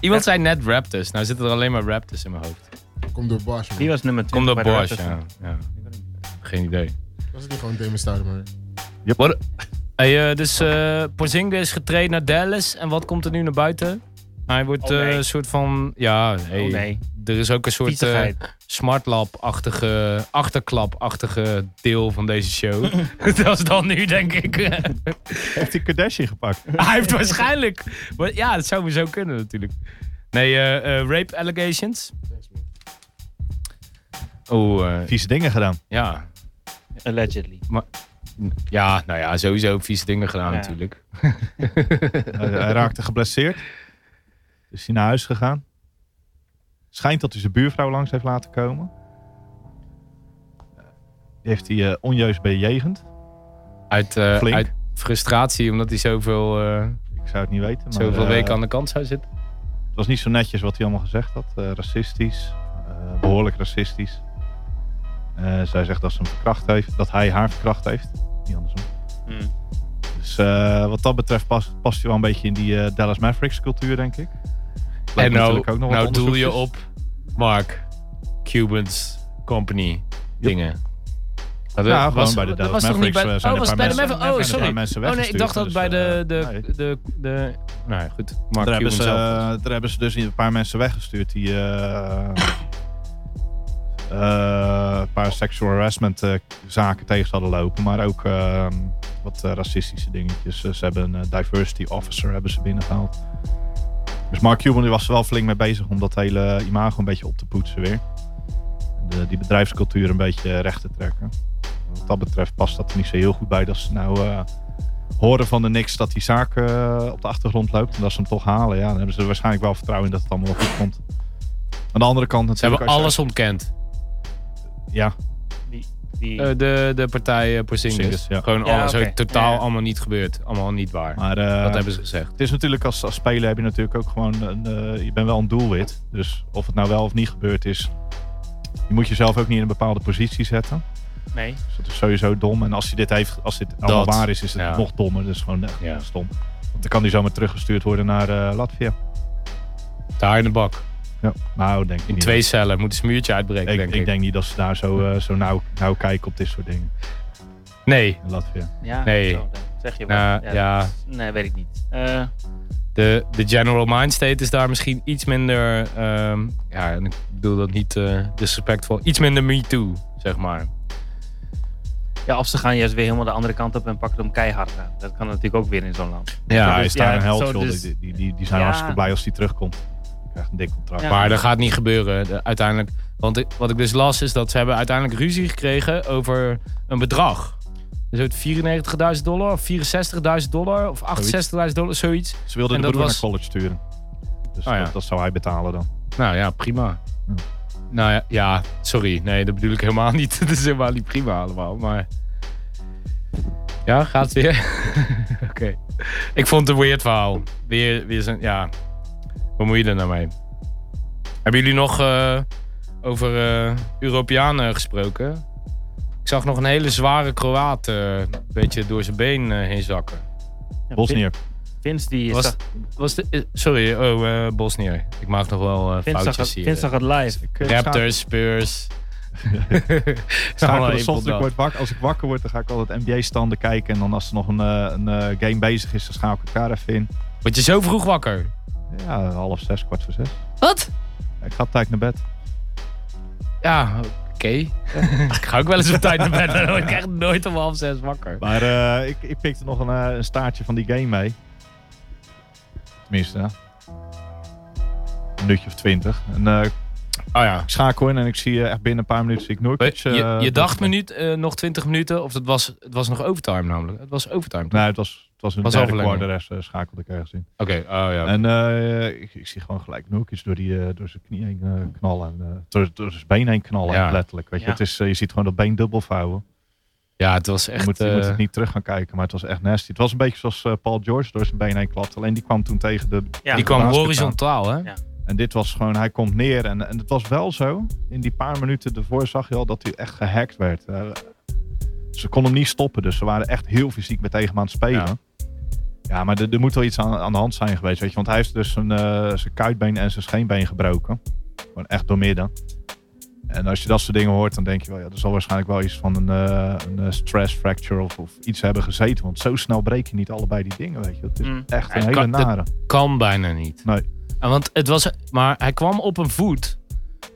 Speaker 5: Iemand zei net Raptors. Nou zitten er alleen maar Raptors in mijn hoofd.
Speaker 6: Komt door Bosch, man.
Speaker 7: Die was nummer 20.
Speaker 5: Komt dat
Speaker 7: bij de
Speaker 5: Bosch?
Speaker 7: Raptors.
Speaker 5: Ja. ja. Geen idee.
Speaker 6: Was het niet gewoon Damon Stoudemire? maar.
Speaker 5: Wat? Hey, eh, dus eh Porzingis is getraind naar Dallas. En wat komt er nu naar buiten? Hij wordt
Speaker 7: Oh,
Speaker 5: eh,
Speaker 7: nee.
Speaker 5: een soort van... Ja, hey,
Speaker 7: Oh nee,
Speaker 5: er is ook een soort... eh,
Speaker 7: viezigheid.
Speaker 5: smartlab-achtige, achterklap-achtige deel van deze show. dat is dan nu, denk ik.
Speaker 4: Heeft hij Kardashian gepakt?
Speaker 5: Hij heeft waarschijnlijk... maar Ja, dat zou maar zo kunnen natuurlijk. Nee, eh, eh, rape allegations. Oh, eh,
Speaker 4: Vieze dingen gedaan.
Speaker 5: ja.
Speaker 7: Allegedly.
Speaker 5: Ja, nou ja, sowieso vieze dingen gedaan
Speaker 7: Ja.
Speaker 5: natuurlijk.
Speaker 4: Hij, hij raakte geblesseerd. Is hij naar huis gegaan. Schijnt dat hij zijn buurvrouw langs heeft laten komen. Die heeft hij eh, onjuist bejegend.
Speaker 5: Uit, eh,
Speaker 4: Flink.
Speaker 5: uit frustratie, omdat hij zoveel, eh,
Speaker 4: Ik zou het niet weten. Maar,
Speaker 5: zoveel
Speaker 4: eh,
Speaker 5: weken aan de kant zou zitten.
Speaker 4: Het was niet zo netjes wat hij allemaal gezegd had. Eh, racistisch. eh, behoorlijk racistisch. Eh, zij zegt dat ze hem verkracht heeft. Dat hij haar verkracht heeft. Niet andersom.
Speaker 7: Hmm.
Speaker 4: Dus eh, wat dat betreft past, past hij wel een beetje in die eh, Dallas Mavericks cultuur, denk ik. Lijkt
Speaker 5: En
Speaker 4: me
Speaker 5: nou,
Speaker 4: natuurlijk ook nog wat
Speaker 5: nou doel je
Speaker 4: onderzoekjes.
Speaker 5: op Mark Cuban's Company dingen. Maar Nou, dat
Speaker 4: Ja, gewoon
Speaker 5: was-
Speaker 4: bij de
Speaker 5: dat
Speaker 4: Dallas
Speaker 5: was toch niet bij,
Speaker 4: Mavericks, eh,
Speaker 5: oh,
Speaker 4: zijn een
Speaker 5: was het
Speaker 4: paar
Speaker 5: bij de
Speaker 4: mensen-
Speaker 5: Mavericks?
Speaker 4: zijn
Speaker 5: Oh,
Speaker 4: een
Speaker 5: sorry.
Speaker 4: paar mensen
Speaker 5: oh nee, ik dacht dat bij
Speaker 4: weggestuurd,
Speaker 5: de,
Speaker 4: dus,
Speaker 5: de,
Speaker 4: eh,
Speaker 5: de, de, Nou ja, goed. Mark
Speaker 4: Daar
Speaker 5: Cuban
Speaker 4: hebben, ze,
Speaker 5: zelf.
Speaker 4: eh, daar hebben ze dus een paar mensen weggestuurd die eh, eh, een paar sexual harassment eh, zaken tegen ze hadden lopen. Maar ook eh, wat eh, racistische dingetjes. Eh, ze hebben een eh, diversity officer hebben ze binnengehaald. Dus Mark Cuban die was er wel flink mee bezig om dat hele imago een beetje op te poetsen weer. En de- die bedrijfscultuur een beetje recht te trekken. Wat dat betreft past dat er niet zo heel goed bij dat ze nou... eh, horen van de niks dat die zaak eh, op de achtergrond loopt. En dat ze hem toch halen. Ja, dan hebben ze er waarschijnlijk wel vertrouwen in dat het allemaal wel goed komt. Aan de andere kant
Speaker 5: Ze
Speaker 4: natuurlijk...
Speaker 5: hebben
Speaker 4: als
Speaker 5: alles ontkend.
Speaker 4: je- Ja,
Speaker 7: Die,
Speaker 5: Eh, de, de partij eh, Porzingis.
Speaker 4: Porzingis, ja.
Speaker 5: Gewoon
Speaker 7: Ja,
Speaker 5: alles
Speaker 7: oké.
Speaker 5: zo totaal
Speaker 7: Ja, ja.
Speaker 5: allemaal niet gebeurd. Allemaal niet waar.
Speaker 4: maar eh,
Speaker 5: dat hebben ze gezegd.
Speaker 4: het is natuurlijk als, als speler heb je natuurlijk ook gewoon... Een, eh, je bent wel een doelwit. Dus of het nou wel of niet gebeurd is... Je moet jezelf ook niet in een bepaalde positie zetten.
Speaker 7: nee.
Speaker 4: Dus dat is sowieso dom. En als hij dit heeft, als dit allemaal
Speaker 5: Dat,
Speaker 4: waar is, is het
Speaker 5: ja.
Speaker 4: nog dommer. Dat is gewoon echt
Speaker 5: Ja.
Speaker 4: stom. Want dan kan hij zomaar teruggestuurd worden naar eh, Latvia.
Speaker 5: Daar in de bak.
Speaker 4: Ja. Nou, denk ik
Speaker 5: In
Speaker 4: niet.
Speaker 5: twee cellen. Moeten ze een muurtje uitbreken,
Speaker 4: Ik,
Speaker 5: denk
Speaker 4: ik,
Speaker 5: ik.
Speaker 4: denk niet dat ze daar zo, eh, zo nauw, nauw kijken op dit soort dingen
Speaker 5: Nee.
Speaker 4: in Latvia.
Speaker 7: Ja,
Speaker 5: Nee.
Speaker 7: zo, dat zeg je wel.
Speaker 5: Nou, ja.
Speaker 7: dat is- Nee, weet ik niet. Eh,
Speaker 5: De, de general mind state is daar misschien iets minder... ehm, ja, en ik bedoel dat niet eh disrespectvol. Iets minder me too, zeg maar.
Speaker 7: ja, of ze gaan juist weer helemaal de andere kant op en pakken hem keihard aan. Dat kan natuurlijk ook weer in zo'n land.
Speaker 4: Ja,
Speaker 5: Ja,
Speaker 4: hij is daar
Speaker 7: ja,
Speaker 4: een held,
Speaker 7: zo
Speaker 4: joh.
Speaker 7: dus-
Speaker 4: die, die, die, die zijn
Speaker 7: Ja.
Speaker 4: hartstikke blij als hij terugkomt. Hij krijgt een dik contract.
Speaker 7: Ja.
Speaker 5: Maar dat gaat niet gebeuren de- uiteindelijk. Want ik- wat ik dus las is dat ze hebben uiteindelijk ruzie gekregen over een bedrag. Dus het 94.000 dollar of 64.000 dollar of 68.000 dollar, zoiets.
Speaker 4: Ze wilden
Speaker 5: En
Speaker 4: de
Speaker 5: dat
Speaker 4: broer
Speaker 5: was-
Speaker 4: naar college sturen. Dus
Speaker 5: Oh, ja.
Speaker 4: dat, dat zou hij betalen dan.
Speaker 5: Nou ja, prima.
Speaker 4: Ja.
Speaker 5: Nou ja, ja, sorry. Nee, dat bedoel ik helemaal niet. Het is helemaal niet prima allemaal, maar... Ja, gaat weer? Oké. Ik vond het een weird verhaal. Weer, weer zijn... Ja. Wat moet je er nou mee? Hebben jullie nog eh, over eh, Europeanen gesproken? Ik zag nog een hele zware Kroaat eh, een beetje door zijn been eh, heen zakken.
Speaker 7: Ja,
Speaker 4: Bosnier.
Speaker 7: Vin- Vince die
Speaker 5: Was,
Speaker 7: zag,
Speaker 5: was de, eh, sorry, oh, eh, Bosnië. Ik maak nog wel eh
Speaker 7: Vince zag, het,
Speaker 5: foutjes hier.
Speaker 7: Vince zag het live.
Speaker 5: eh, Raptors, Spurs.
Speaker 4: Sta ik
Speaker 5: Allemaal één
Speaker 4: van de
Speaker 5: pot
Speaker 4: ochtend, ik
Speaker 5: dag.
Speaker 4: word wakker. Als ik wakker word, dan ga ik altijd NBA-standen kijken. En dan als er nog een, eh, een eh, game bezig is, dan schakel ik elkaar even in.
Speaker 5: Word je zo vroeg wakker?
Speaker 4: Ja, half zes, kwart voor zes.
Speaker 5: Wat?
Speaker 4: Ik ga op tijd naar bed.
Speaker 5: Ja, oké. ik ga ook wel eens op tijd naar bed. Dan word ik echt nooit om half zes wakker.
Speaker 4: Maar eh, ik, ik pikte nog een, eh, een staartje van die game mee. Tenminste, ja. een minuutje of twintig. En eh,
Speaker 5: Oh ja.
Speaker 4: ik schakel in en ik zie eh, echt binnen een paar minuten zie ik Noorkic.
Speaker 5: Je,
Speaker 4: eh,
Speaker 5: je dacht
Speaker 4: dat-
Speaker 5: minuut, eh, nog 20 minuten, of het was, het was nog overtime namelijk. Het was overtime. toch?
Speaker 4: Nee, het was, het was een
Speaker 5: Was
Speaker 4: derde
Speaker 5: overlenging.
Speaker 4: kwart, de rest eh, schakelde ik ergens in.
Speaker 5: Oké, oh ja.
Speaker 4: En eh, ik, ik zie gewoon gelijk Noorkic door, die, eh, door zijn knie heen eh, knallen. En, eh, door, door zijn been heen knallen,
Speaker 5: Ja.
Speaker 4: letterlijk. Weet je?
Speaker 7: Ja.
Speaker 4: Het is, eh, je ziet gewoon dat been dubbel vouwen.
Speaker 5: ja, het was
Speaker 4: je,
Speaker 5: echt...
Speaker 4: moet, je moet
Speaker 5: eh,
Speaker 4: het niet terug gaan kijken, maar het was echt nasty. Het was een beetje zoals eh, Paul George door zijn been heen klapte. Alleen die kwam toen tegen de
Speaker 7: Ja,
Speaker 5: die kwam
Speaker 4: basket aan.
Speaker 5: horizontaal, hè?
Speaker 7: Ja.
Speaker 4: En dit was gewoon, hij komt neer. En, en het was wel zo, in die paar minuten ervoor zag je al dat hij echt gehackt werd. Eh, ze kon hem niet stoppen, dus ze waren echt heel fysiek met tegen hem aan het spelen. Ja, maar er, er moet wel iets aan, aan de hand zijn geweest, weet je. Want hij heeft dus zijn, eh, zijn kuitbeen en zijn scheenbeen gebroken. Gewoon echt doormidden. En als je dat soort dingen hoort, dan denk je wel, ja, er zal waarschijnlijk wel iets van een, eh, een eh, stress fracture of, of iets hebben gezeten. Want zo snel breek je niet allebei die dingen, weet je. Het Nou, is
Speaker 7: Mm.
Speaker 4: echt een
Speaker 5: Hij
Speaker 4: hele
Speaker 5: kan- dat-
Speaker 4: nare.
Speaker 5: Kan bijna niet.
Speaker 4: Nee.
Speaker 5: En Want het was... Maar hij kwam op een voet.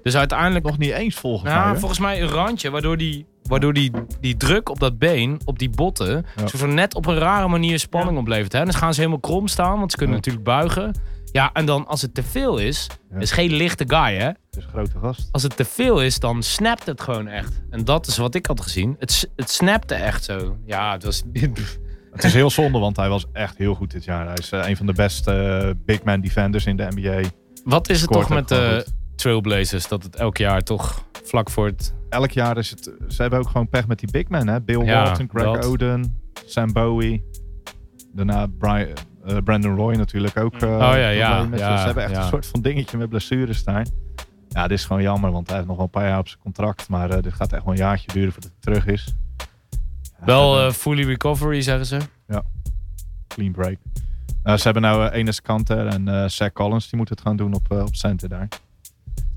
Speaker 5: Dus uiteindelijk
Speaker 4: Nog niet eens volgens mij.
Speaker 5: Nou,
Speaker 4: hè?
Speaker 5: volgens mij een randje, waardoor, die, waardoor die, die druk op dat been, op die botten,
Speaker 4: Ja.
Speaker 5: zo van net op een rare manier spanning oplevert. Hè? Dan gaan ze helemaal krom staan, want ze kunnen
Speaker 4: Ja.
Speaker 5: natuurlijk buigen. Ja, en dan als het te veel is,
Speaker 4: Ja.
Speaker 5: is geen lichte guy hè.
Speaker 4: Het is een grote gast.
Speaker 5: Als het te veel is, dan snapt het gewoon echt. En dat is wat ik had gezien. Het, s- het snapte echt zo. Ja, het was...
Speaker 4: Het is heel zonde, want hij was echt heel goed dit jaar. Hij is eh, een van de beste eh, big man defenders in de NBA.
Speaker 5: wat is het
Speaker 4: Scoort
Speaker 5: toch met eh,
Speaker 4: ook
Speaker 5: de
Speaker 4: gewoon goed.
Speaker 5: Trailblazers, dat het elk jaar toch vlak voor het...
Speaker 4: Elk jaar is het... Ze hebben ook gewoon pech met die big men, hè? Bill
Speaker 5: Ja,
Speaker 4: Walton, Greg
Speaker 5: dat.
Speaker 4: Oden, Sam Bowie. Daarna Brian, eh, Brandon Roy natuurlijk ook. eh,
Speaker 7: Oh,
Speaker 5: Mm. ja, ja,
Speaker 4: probleem met-
Speaker 5: ja,
Speaker 4: ze hebben echt
Speaker 5: ja.
Speaker 4: een soort van dingetje met blessures daar. Ja, dit is gewoon jammer, want hij heeft nog wel een paar jaar op zijn contract. Maar eh, dit gaat echt wel een jaartje duren voordat hij terug is. Ja,
Speaker 5: Wel
Speaker 4: ze hebben
Speaker 5: eh, fully recovery, zeggen ze.
Speaker 4: een clean break. eh, Nou, ze hebben nou eh, Enes Kanter en eh Zach Collins. Die moeten het gaan doen op, eh, op center daar.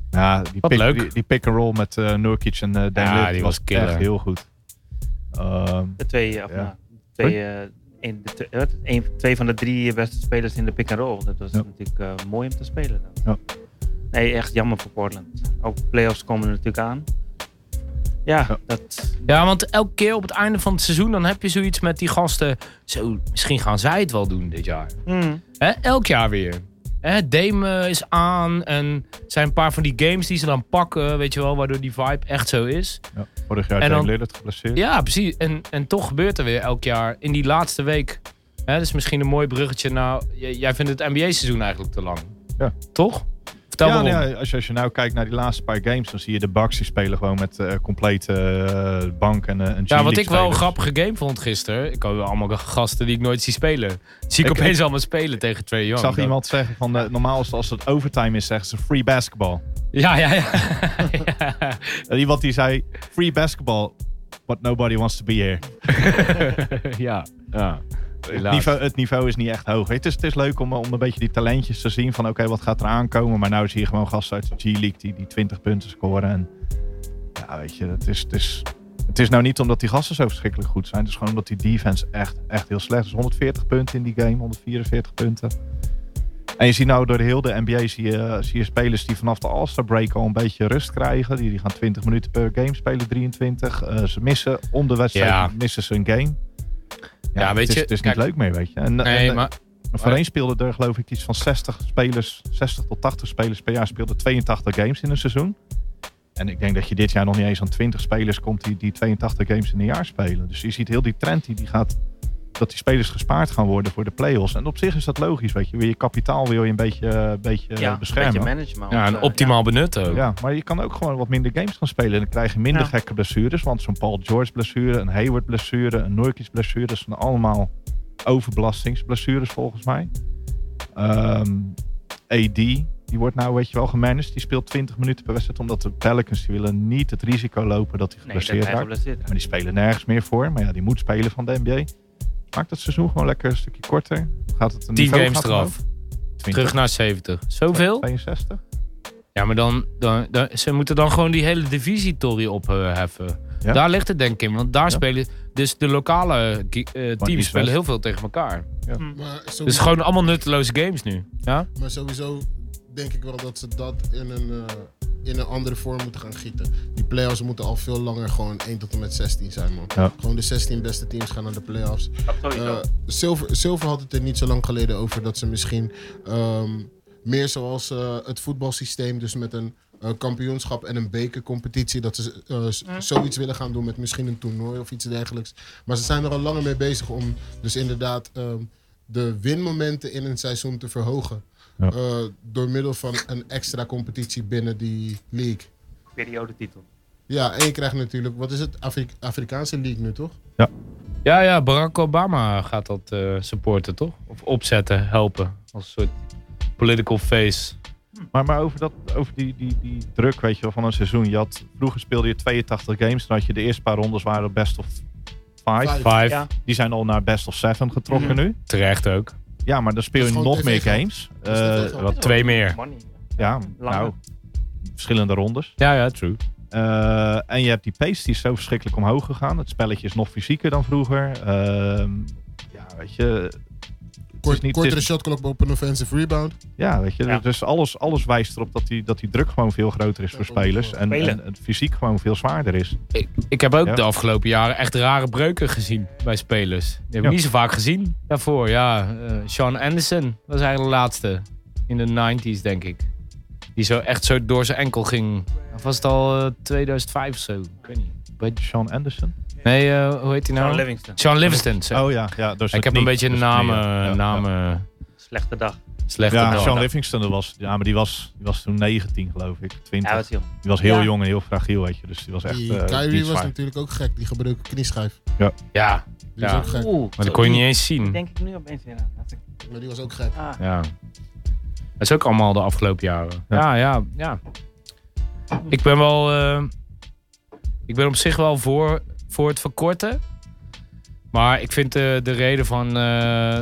Speaker 4: Ja, die,
Speaker 5: Wat
Speaker 4: pick,
Speaker 5: leuk.
Speaker 4: Die, die pick and roll met eh Nurkic en eh
Speaker 5: Ja,
Speaker 4: Dan Ligt
Speaker 5: die was killer.
Speaker 4: echt heel goed. Ehm,
Speaker 7: De twee, of
Speaker 4: Ja.
Speaker 7: nou, twee, eh, een- de twee- wat? Een- twee van de drie beste spelers in de pick and roll. Dat was
Speaker 4: Ja.
Speaker 7: natuurlijk eh, mooi om te spelen. Dan.
Speaker 4: Ja.
Speaker 7: Nee, echt jammer voor Portland. Ook playoffs komen er natuurlijk aan. Ja,
Speaker 4: Ja.
Speaker 7: dat.
Speaker 5: Ja, want elke keer op het einde van het seizoen dan heb je zoiets met die gasten. Zo, misschien gaan zij het wel doen dit jaar.
Speaker 7: hmm,
Speaker 5: Hè, elk jaar weer. Hè, Dame eh, is aan en er zijn een paar van die games die ze dan pakken, weet je wel, waardoor die vibe echt zo is.
Speaker 4: ja, vorig jaar
Speaker 5: En
Speaker 4: Dan
Speaker 5: dan-
Speaker 4: Lillard geblesseerd.
Speaker 5: Ja, precies. En, en toch gebeurt er weer elk jaar in die laatste week. Hè, dus misschien een mooi bruggetje naar. j- jij vindt het NBA-seizoen eigenlijk te lang.
Speaker 4: Ja.
Speaker 5: Toch? Vertel
Speaker 4: Ja,
Speaker 5: waarom.
Speaker 4: nou ja, als, je, als je nou kijkt naar die laatste paar games, dan zie je de Bucks die spelen gewoon met eh complete eh, bank en eh, een
Speaker 5: Ja, wat
Speaker 4: G-League
Speaker 5: ik wel een
Speaker 4: spelers.
Speaker 5: grappige game vond gisteren. Ik had allemaal gasten die ik nooit zie spelen. Zie ik,
Speaker 4: Ik-
Speaker 5: opeens allemaal spelen tegen Trae Young.
Speaker 4: Ik zag
Speaker 5: Dat-
Speaker 4: iemand zeggen van, eh, normaal is het als het overtime is, zeggen ze free basketball.
Speaker 5: Ja, ja, ja. ja.
Speaker 4: En iemand die zei, free basketball, but nobody wants to be here.
Speaker 5: ja. ja.
Speaker 4: Het niveau, het niveau is niet echt hoog. Het is, het is leuk om, om een beetje die talentjes te zien van, oké, wat gaat er aankomen? Maar nou zie je gewoon gasten uit de G-League die, die 20 punten scoren. En, ja, weet je, het is, het, is, het is nou niet omdat die gasten zo verschrikkelijk goed zijn. Het is gewoon omdat die defense echt, echt heel slecht is. 140 punten in die game, 144 punten. En je ziet nou door de hele de NBA zie je, zie je spelers die vanaf de All-Star break al een beetje rust krijgen. Die, die gaan 20 minuten per game spelen, 23. Eh, ze missen om de wedstrijd,
Speaker 5: Ja.
Speaker 4: missen ze een game. Ja,
Speaker 5: Ja, weet
Speaker 4: het is,
Speaker 5: je,
Speaker 4: het is
Speaker 5: kijk-
Speaker 4: niet leuk meer, weet je. En,
Speaker 5: Nee,
Speaker 4: en,
Speaker 5: maar
Speaker 4: en voorheen speelden er geloof ik iets van 60 spelers, 60 tot 80 spelers per jaar speelden 82 games in een seizoen. En ik denk dat je dit jaar nog niet eens aan 20 spelers komt die, die 82 games in een jaar spelen. Dus je ziet heel die trend die, die gaat, dat die spelers gespaard gaan worden voor de play-offs. En op zich is dat logisch, weet je. Wil Je kapitaal wil je een beetje, eh, een beetje eh,
Speaker 7: ja, een beetje
Speaker 4: beschermen.
Speaker 7: management.
Speaker 5: ja, een
Speaker 7: eh,
Speaker 5: optimaal benut ook.
Speaker 4: ja, maar je kan ook gewoon wat minder games gaan spelen. En dan krijg je minder
Speaker 7: Ja.
Speaker 4: gekke blessures. Want zo'n Paul George blessure, een Hayward blessure, een Nurkic blessure. Dat zijn allemaal overbelastingsblessures volgens mij. Ehm, AD, die wordt nou weet je wel gemanaged. Die speelt 20 minuten per wedstrijd. Omdat de Pelicans die willen niet het risico lopen dat hij
Speaker 7: Nee, dat
Speaker 4: geblesseerd
Speaker 7: hij
Speaker 4: raakt.
Speaker 7: geblesseerd
Speaker 4: Maar die spelen nergens meer voor. Maar ja, die moet spelen van de NBA. Maakt het seizoen gewoon lekker een stukje korter. Dan Gaat het een
Speaker 5: 10
Speaker 4: niveau
Speaker 5: games
Speaker 4: gaat omhoog.
Speaker 5: eraf.
Speaker 4: 20,
Speaker 5: Terug naar 70. Zoveel?
Speaker 4: 62.
Speaker 5: Ja, maar dan, dan, dan- ze moeten dan gewoon die hele divisie-torrie opheffen.
Speaker 4: Ja.
Speaker 5: Daar ligt het denk ik in, want daar
Speaker 4: Ja.
Speaker 5: spelen dus de lokale eh, teams
Speaker 4: East
Speaker 5: spelen
Speaker 4: West.
Speaker 5: heel veel tegen elkaar.
Speaker 6: Maar
Speaker 5: Dus
Speaker 6: sowieso,
Speaker 5: gewoon allemaal nutteloze games nu. Ja?
Speaker 6: maar sowieso denk ik wel dat ze dat in een, eh, in een andere vorm moeten gaan gieten. Die play-offs moeten al veel langer gewoon 1 tot en met 16 zijn, man.
Speaker 4: Ja.
Speaker 6: Gewoon de 16 beste teams gaan naar de play-offs.
Speaker 7: raakt. Dat sowieso.
Speaker 6: Eh, Silver, Silver had het er niet zo lang geleden over dat ze misschien ehm, meer zoals eh, het voetbalsysteem, dus met een eh, kampioenschap en een bekercompetitie, dat ze eh, s- zoiets willen gaan doen met misschien een toernooi of iets dergelijks. Maar ze zijn er al langer mee bezig om dus inderdaad ehm, de winmomenten in een seizoen te verhogen.
Speaker 4: Ja.
Speaker 6: Eh, door middel van een extra competitie binnen die league.
Speaker 7: Periodetitel.
Speaker 6: Ja, en je krijgt natuurlijk, wat is het? Afri- Afrikaanse league nu toch?
Speaker 5: ja, ja, Barack Obama gaat dat eh, supporten, toch? Of opzetten, helpen. Als een soort political face.
Speaker 4: Maar, maar over, dat, over die, die, die druk weet je wel, van een seizoen. Je had, vroeger speelde je 82 games. Dan had je de eerste paar rondes waren best of five.
Speaker 5: Five,
Speaker 7: Ja.
Speaker 4: Die zijn al naar best of seven getrokken
Speaker 7: Mhm.
Speaker 4: nu.
Speaker 5: terecht ook.
Speaker 4: Ja, maar dan speel
Speaker 6: Dat
Speaker 4: je
Speaker 6: is gewoon
Speaker 4: nog
Speaker 6: TV
Speaker 4: meer
Speaker 6: geld.
Speaker 4: games.
Speaker 6: is net
Speaker 4: Eh,
Speaker 6: even-
Speaker 5: Wat twee meer.
Speaker 7: Money.
Speaker 4: ja,
Speaker 7: Langer.
Speaker 4: nou, verschillende rondes.
Speaker 5: Ja, ja, true.
Speaker 4: Eh, en je hebt die pace die is zo verschrikkelijk omhoog gegaan. Het spelletje is nog fysieker dan vroeger. Ehm, ja, weet je,
Speaker 6: Kort,
Speaker 4: is niet-
Speaker 6: kortere
Speaker 4: het is-
Speaker 6: shotklok op een offensive rebound.
Speaker 4: Ja, weet je,
Speaker 7: Ja.
Speaker 4: dus alles, alles wijst erop dat die, dat die druk gewoon veel groter is voor spelers. En, en
Speaker 7: Spelen.
Speaker 4: het fysiek gewoon veel zwaarder is.
Speaker 5: Ik, ik heb ook
Speaker 4: Ja.
Speaker 5: de afgelopen jaren echt rare breuken gezien bij spelers. Die heb ik
Speaker 4: Ja.
Speaker 5: niet zo vaak gezien daarvoor. Ja, eh, Sean Anderson was eigenlijk de laatste in de 90s, denk ik. Die zo echt zo door zijn enkel ging. Of was het al eh, 2005 of zo? Ik weet niet.
Speaker 4: Sean Anderson.
Speaker 5: Nee, eh, hoe heet hij
Speaker 7: John
Speaker 5: nou?
Speaker 7: Livingston.
Speaker 5: Sean Livingston. zo.
Speaker 4: Oh ja, ja door zijn
Speaker 5: ik heb een
Speaker 4: knie.
Speaker 5: beetje
Speaker 4: Door zijn
Speaker 5: namen,
Speaker 4: knieën. Ja,
Speaker 5: namen
Speaker 7: Slechte dag.
Speaker 5: slechte
Speaker 4: Ja,
Speaker 5: namen.
Speaker 4: Sean Livingston er was. Ja, maar die was, die was toen 19, geloof ik. 20.
Speaker 7: Ja, wat jong.
Speaker 4: die was heel
Speaker 7: Ja.
Speaker 4: jong en heel fragiel, weet je. Dus die was echt.
Speaker 6: Die
Speaker 4: eh,
Speaker 6: Kyrie
Speaker 4: niet
Speaker 6: was
Speaker 4: zwaar.
Speaker 6: natuurlijk ook gek. Die gebruikte knieschijf.
Speaker 5: Ja,
Speaker 6: Die
Speaker 5: Ja.
Speaker 6: was ook gek.
Speaker 7: Oeh,
Speaker 5: maar dat kon je niet eens zien.
Speaker 7: Denk ik nu opeens weer aan. Dat ik-
Speaker 6: Maar die was ook gek.
Speaker 7: Ah.
Speaker 5: Ja. Dat is ook allemaal de afgelopen jaren.
Speaker 4: Ja.
Speaker 5: Ja, ja, ja. Ik ben wel. eh, ik ben op zich wel voor, voor het verkorten. Maar ik vind eh, de reden van... eh,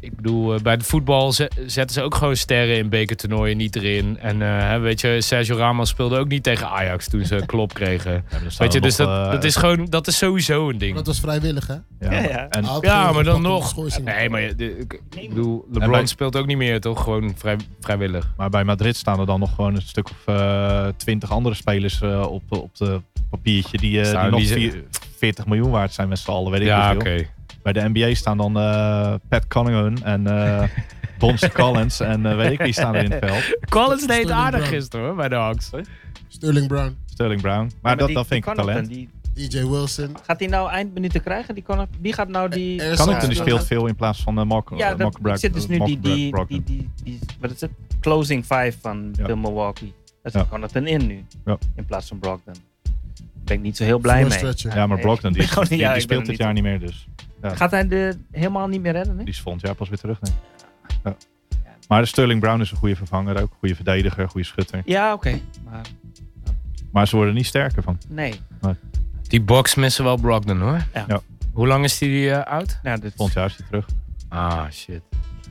Speaker 5: ik bedoel, eh, bij het voetbal ze- zetten ze ook gewoon sterren in bekertoernooien niet erin. En eh, hè, weet je, Sergio Ramos speelde ook niet tegen Ajax toen ze klop kregen. Weet je, dus
Speaker 4: eh,
Speaker 5: dat, dat is gewoon, dat is sowieso een ding.
Speaker 6: Dat was vrijwillig, hè?
Speaker 4: Ja,
Speaker 7: Ja, ja.
Speaker 4: En,
Speaker 6: Hij had
Speaker 5: Ja,
Speaker 6: gewoon
Speaker 5: maar dan
Speaker 6: gepakt om de
Speaker 5: nog.
Speaker 6: schorsing.
Speaker 5: Nee, maar je- de- ik, ik bedoel,
Speaker 4: En bij-
Speaker 5: LeBron speelt ook niet meer, toch? Gewoon vrij, vrijwillig.
Speaker 4: maar bij Madrid staan er dan nog gewoon een stuk of eh, twintig andere spelers eh, op, op de papiertje die, eh,
Speaker 5: Staan
Speaker 4: die nog
Speaker 5: die ze-
Speaker 4: vier- 40 miljoen waard zijn met z'n allen, weet ik
Speaker 5: Ja,
Speaker 4: niet
Speaker 5: oké.
Speaker 4: veel. Bij de NBA staan dan eh, Pat Cunningham en eh Bonds Collins en eh, weet ik wie staan er in het veld.
Speaker 5: Collins
Speaker 6: Sterling
Speaker 5: deed aardig
Speaker 6: Brown.
Speaker 5: gisteren hoor, bij de Hawks.
Speaker 6: Sterling Brown,
Speaker 4: Sterling Brown. Maar,
Speaker 7: maar
Speaker 4: dat,
Speaker 7: die-
Speaker 4: dat
Speaker 7: die
Speaker 4: vind ik
Speaker 7: kan
Speaker 4: een
Speaker 7: het
Speaker 4: talent.
Speaker 7: dan. Die-
Speaker 6: E.J. Wilson.
Speaker 7: Gaat hij nou eindminuten krijgen? Die kan, wie gaat nou die...
Speaker 6: Er
Speaker 4: Kan
Speaker 6: zat
Speaker 4: ik dan die
Speaker 6: wel-
Speaker 4: speelt veel in plaats van eh Mark,
Speaker 7: Ja,
Speaker 4: eh,
Speaker 7: dat
Speaker 4: Mark Bragg-
Speaker 7: ik zit dus nu
Speaker 4: Mark
Speaker 7: die, die,
Speaker 4: Bragg-
Speaker 7: die, die, die, wat is het? Closing five van
Speaker 4: Ja.
Speaker 7: de Milwaukee. Dus
Speaker 4: Ja.
Speaker 7: kan kan het een in nu.
Speaker 4: Ja.
Speaker 7: In plaats van Brogdon. Daar ben ik niet zo heel blij mee.
Speaker 6: Stretcher.
Speaker 4: Ja, maar
Speaker 7: Oh, Nee,
Speaker 4: Brogdon die,
Speaker 7: ik ben
Speaker 4: die,
Speaker 7: gewoon- ja,
Speaker 4: die
Speaker 7: ik ben
Speaker 4: speelt
Speaker 7: er
Speaker 4: dit jaar niet meer dus. Ja.
Speaker 7: Gaat hij de helemaal niet meer redden? Hè?
Speaker 4: Die is volgend jaar pas weer terug. Denk ik. Ja. Maar Sterling Brown is een goede vervanger ook. Goede verdediger, goede schutter.
Speaker 7: Ja, oké. Maar
Speaker 4: Maar ze worden niet sterker van.
Speaker 7: nee.
Speaker 5: Die box missen wel Brogdon hoor.
Speaker 7: Ja.
Speaker 4: Ja.
Speaker 5: Hoe lang is die eh, oud?
Speaker 7: Nou, dit
Speaker 4: Volgend jaar is hij terug.
Speaker 5: Ah, shit.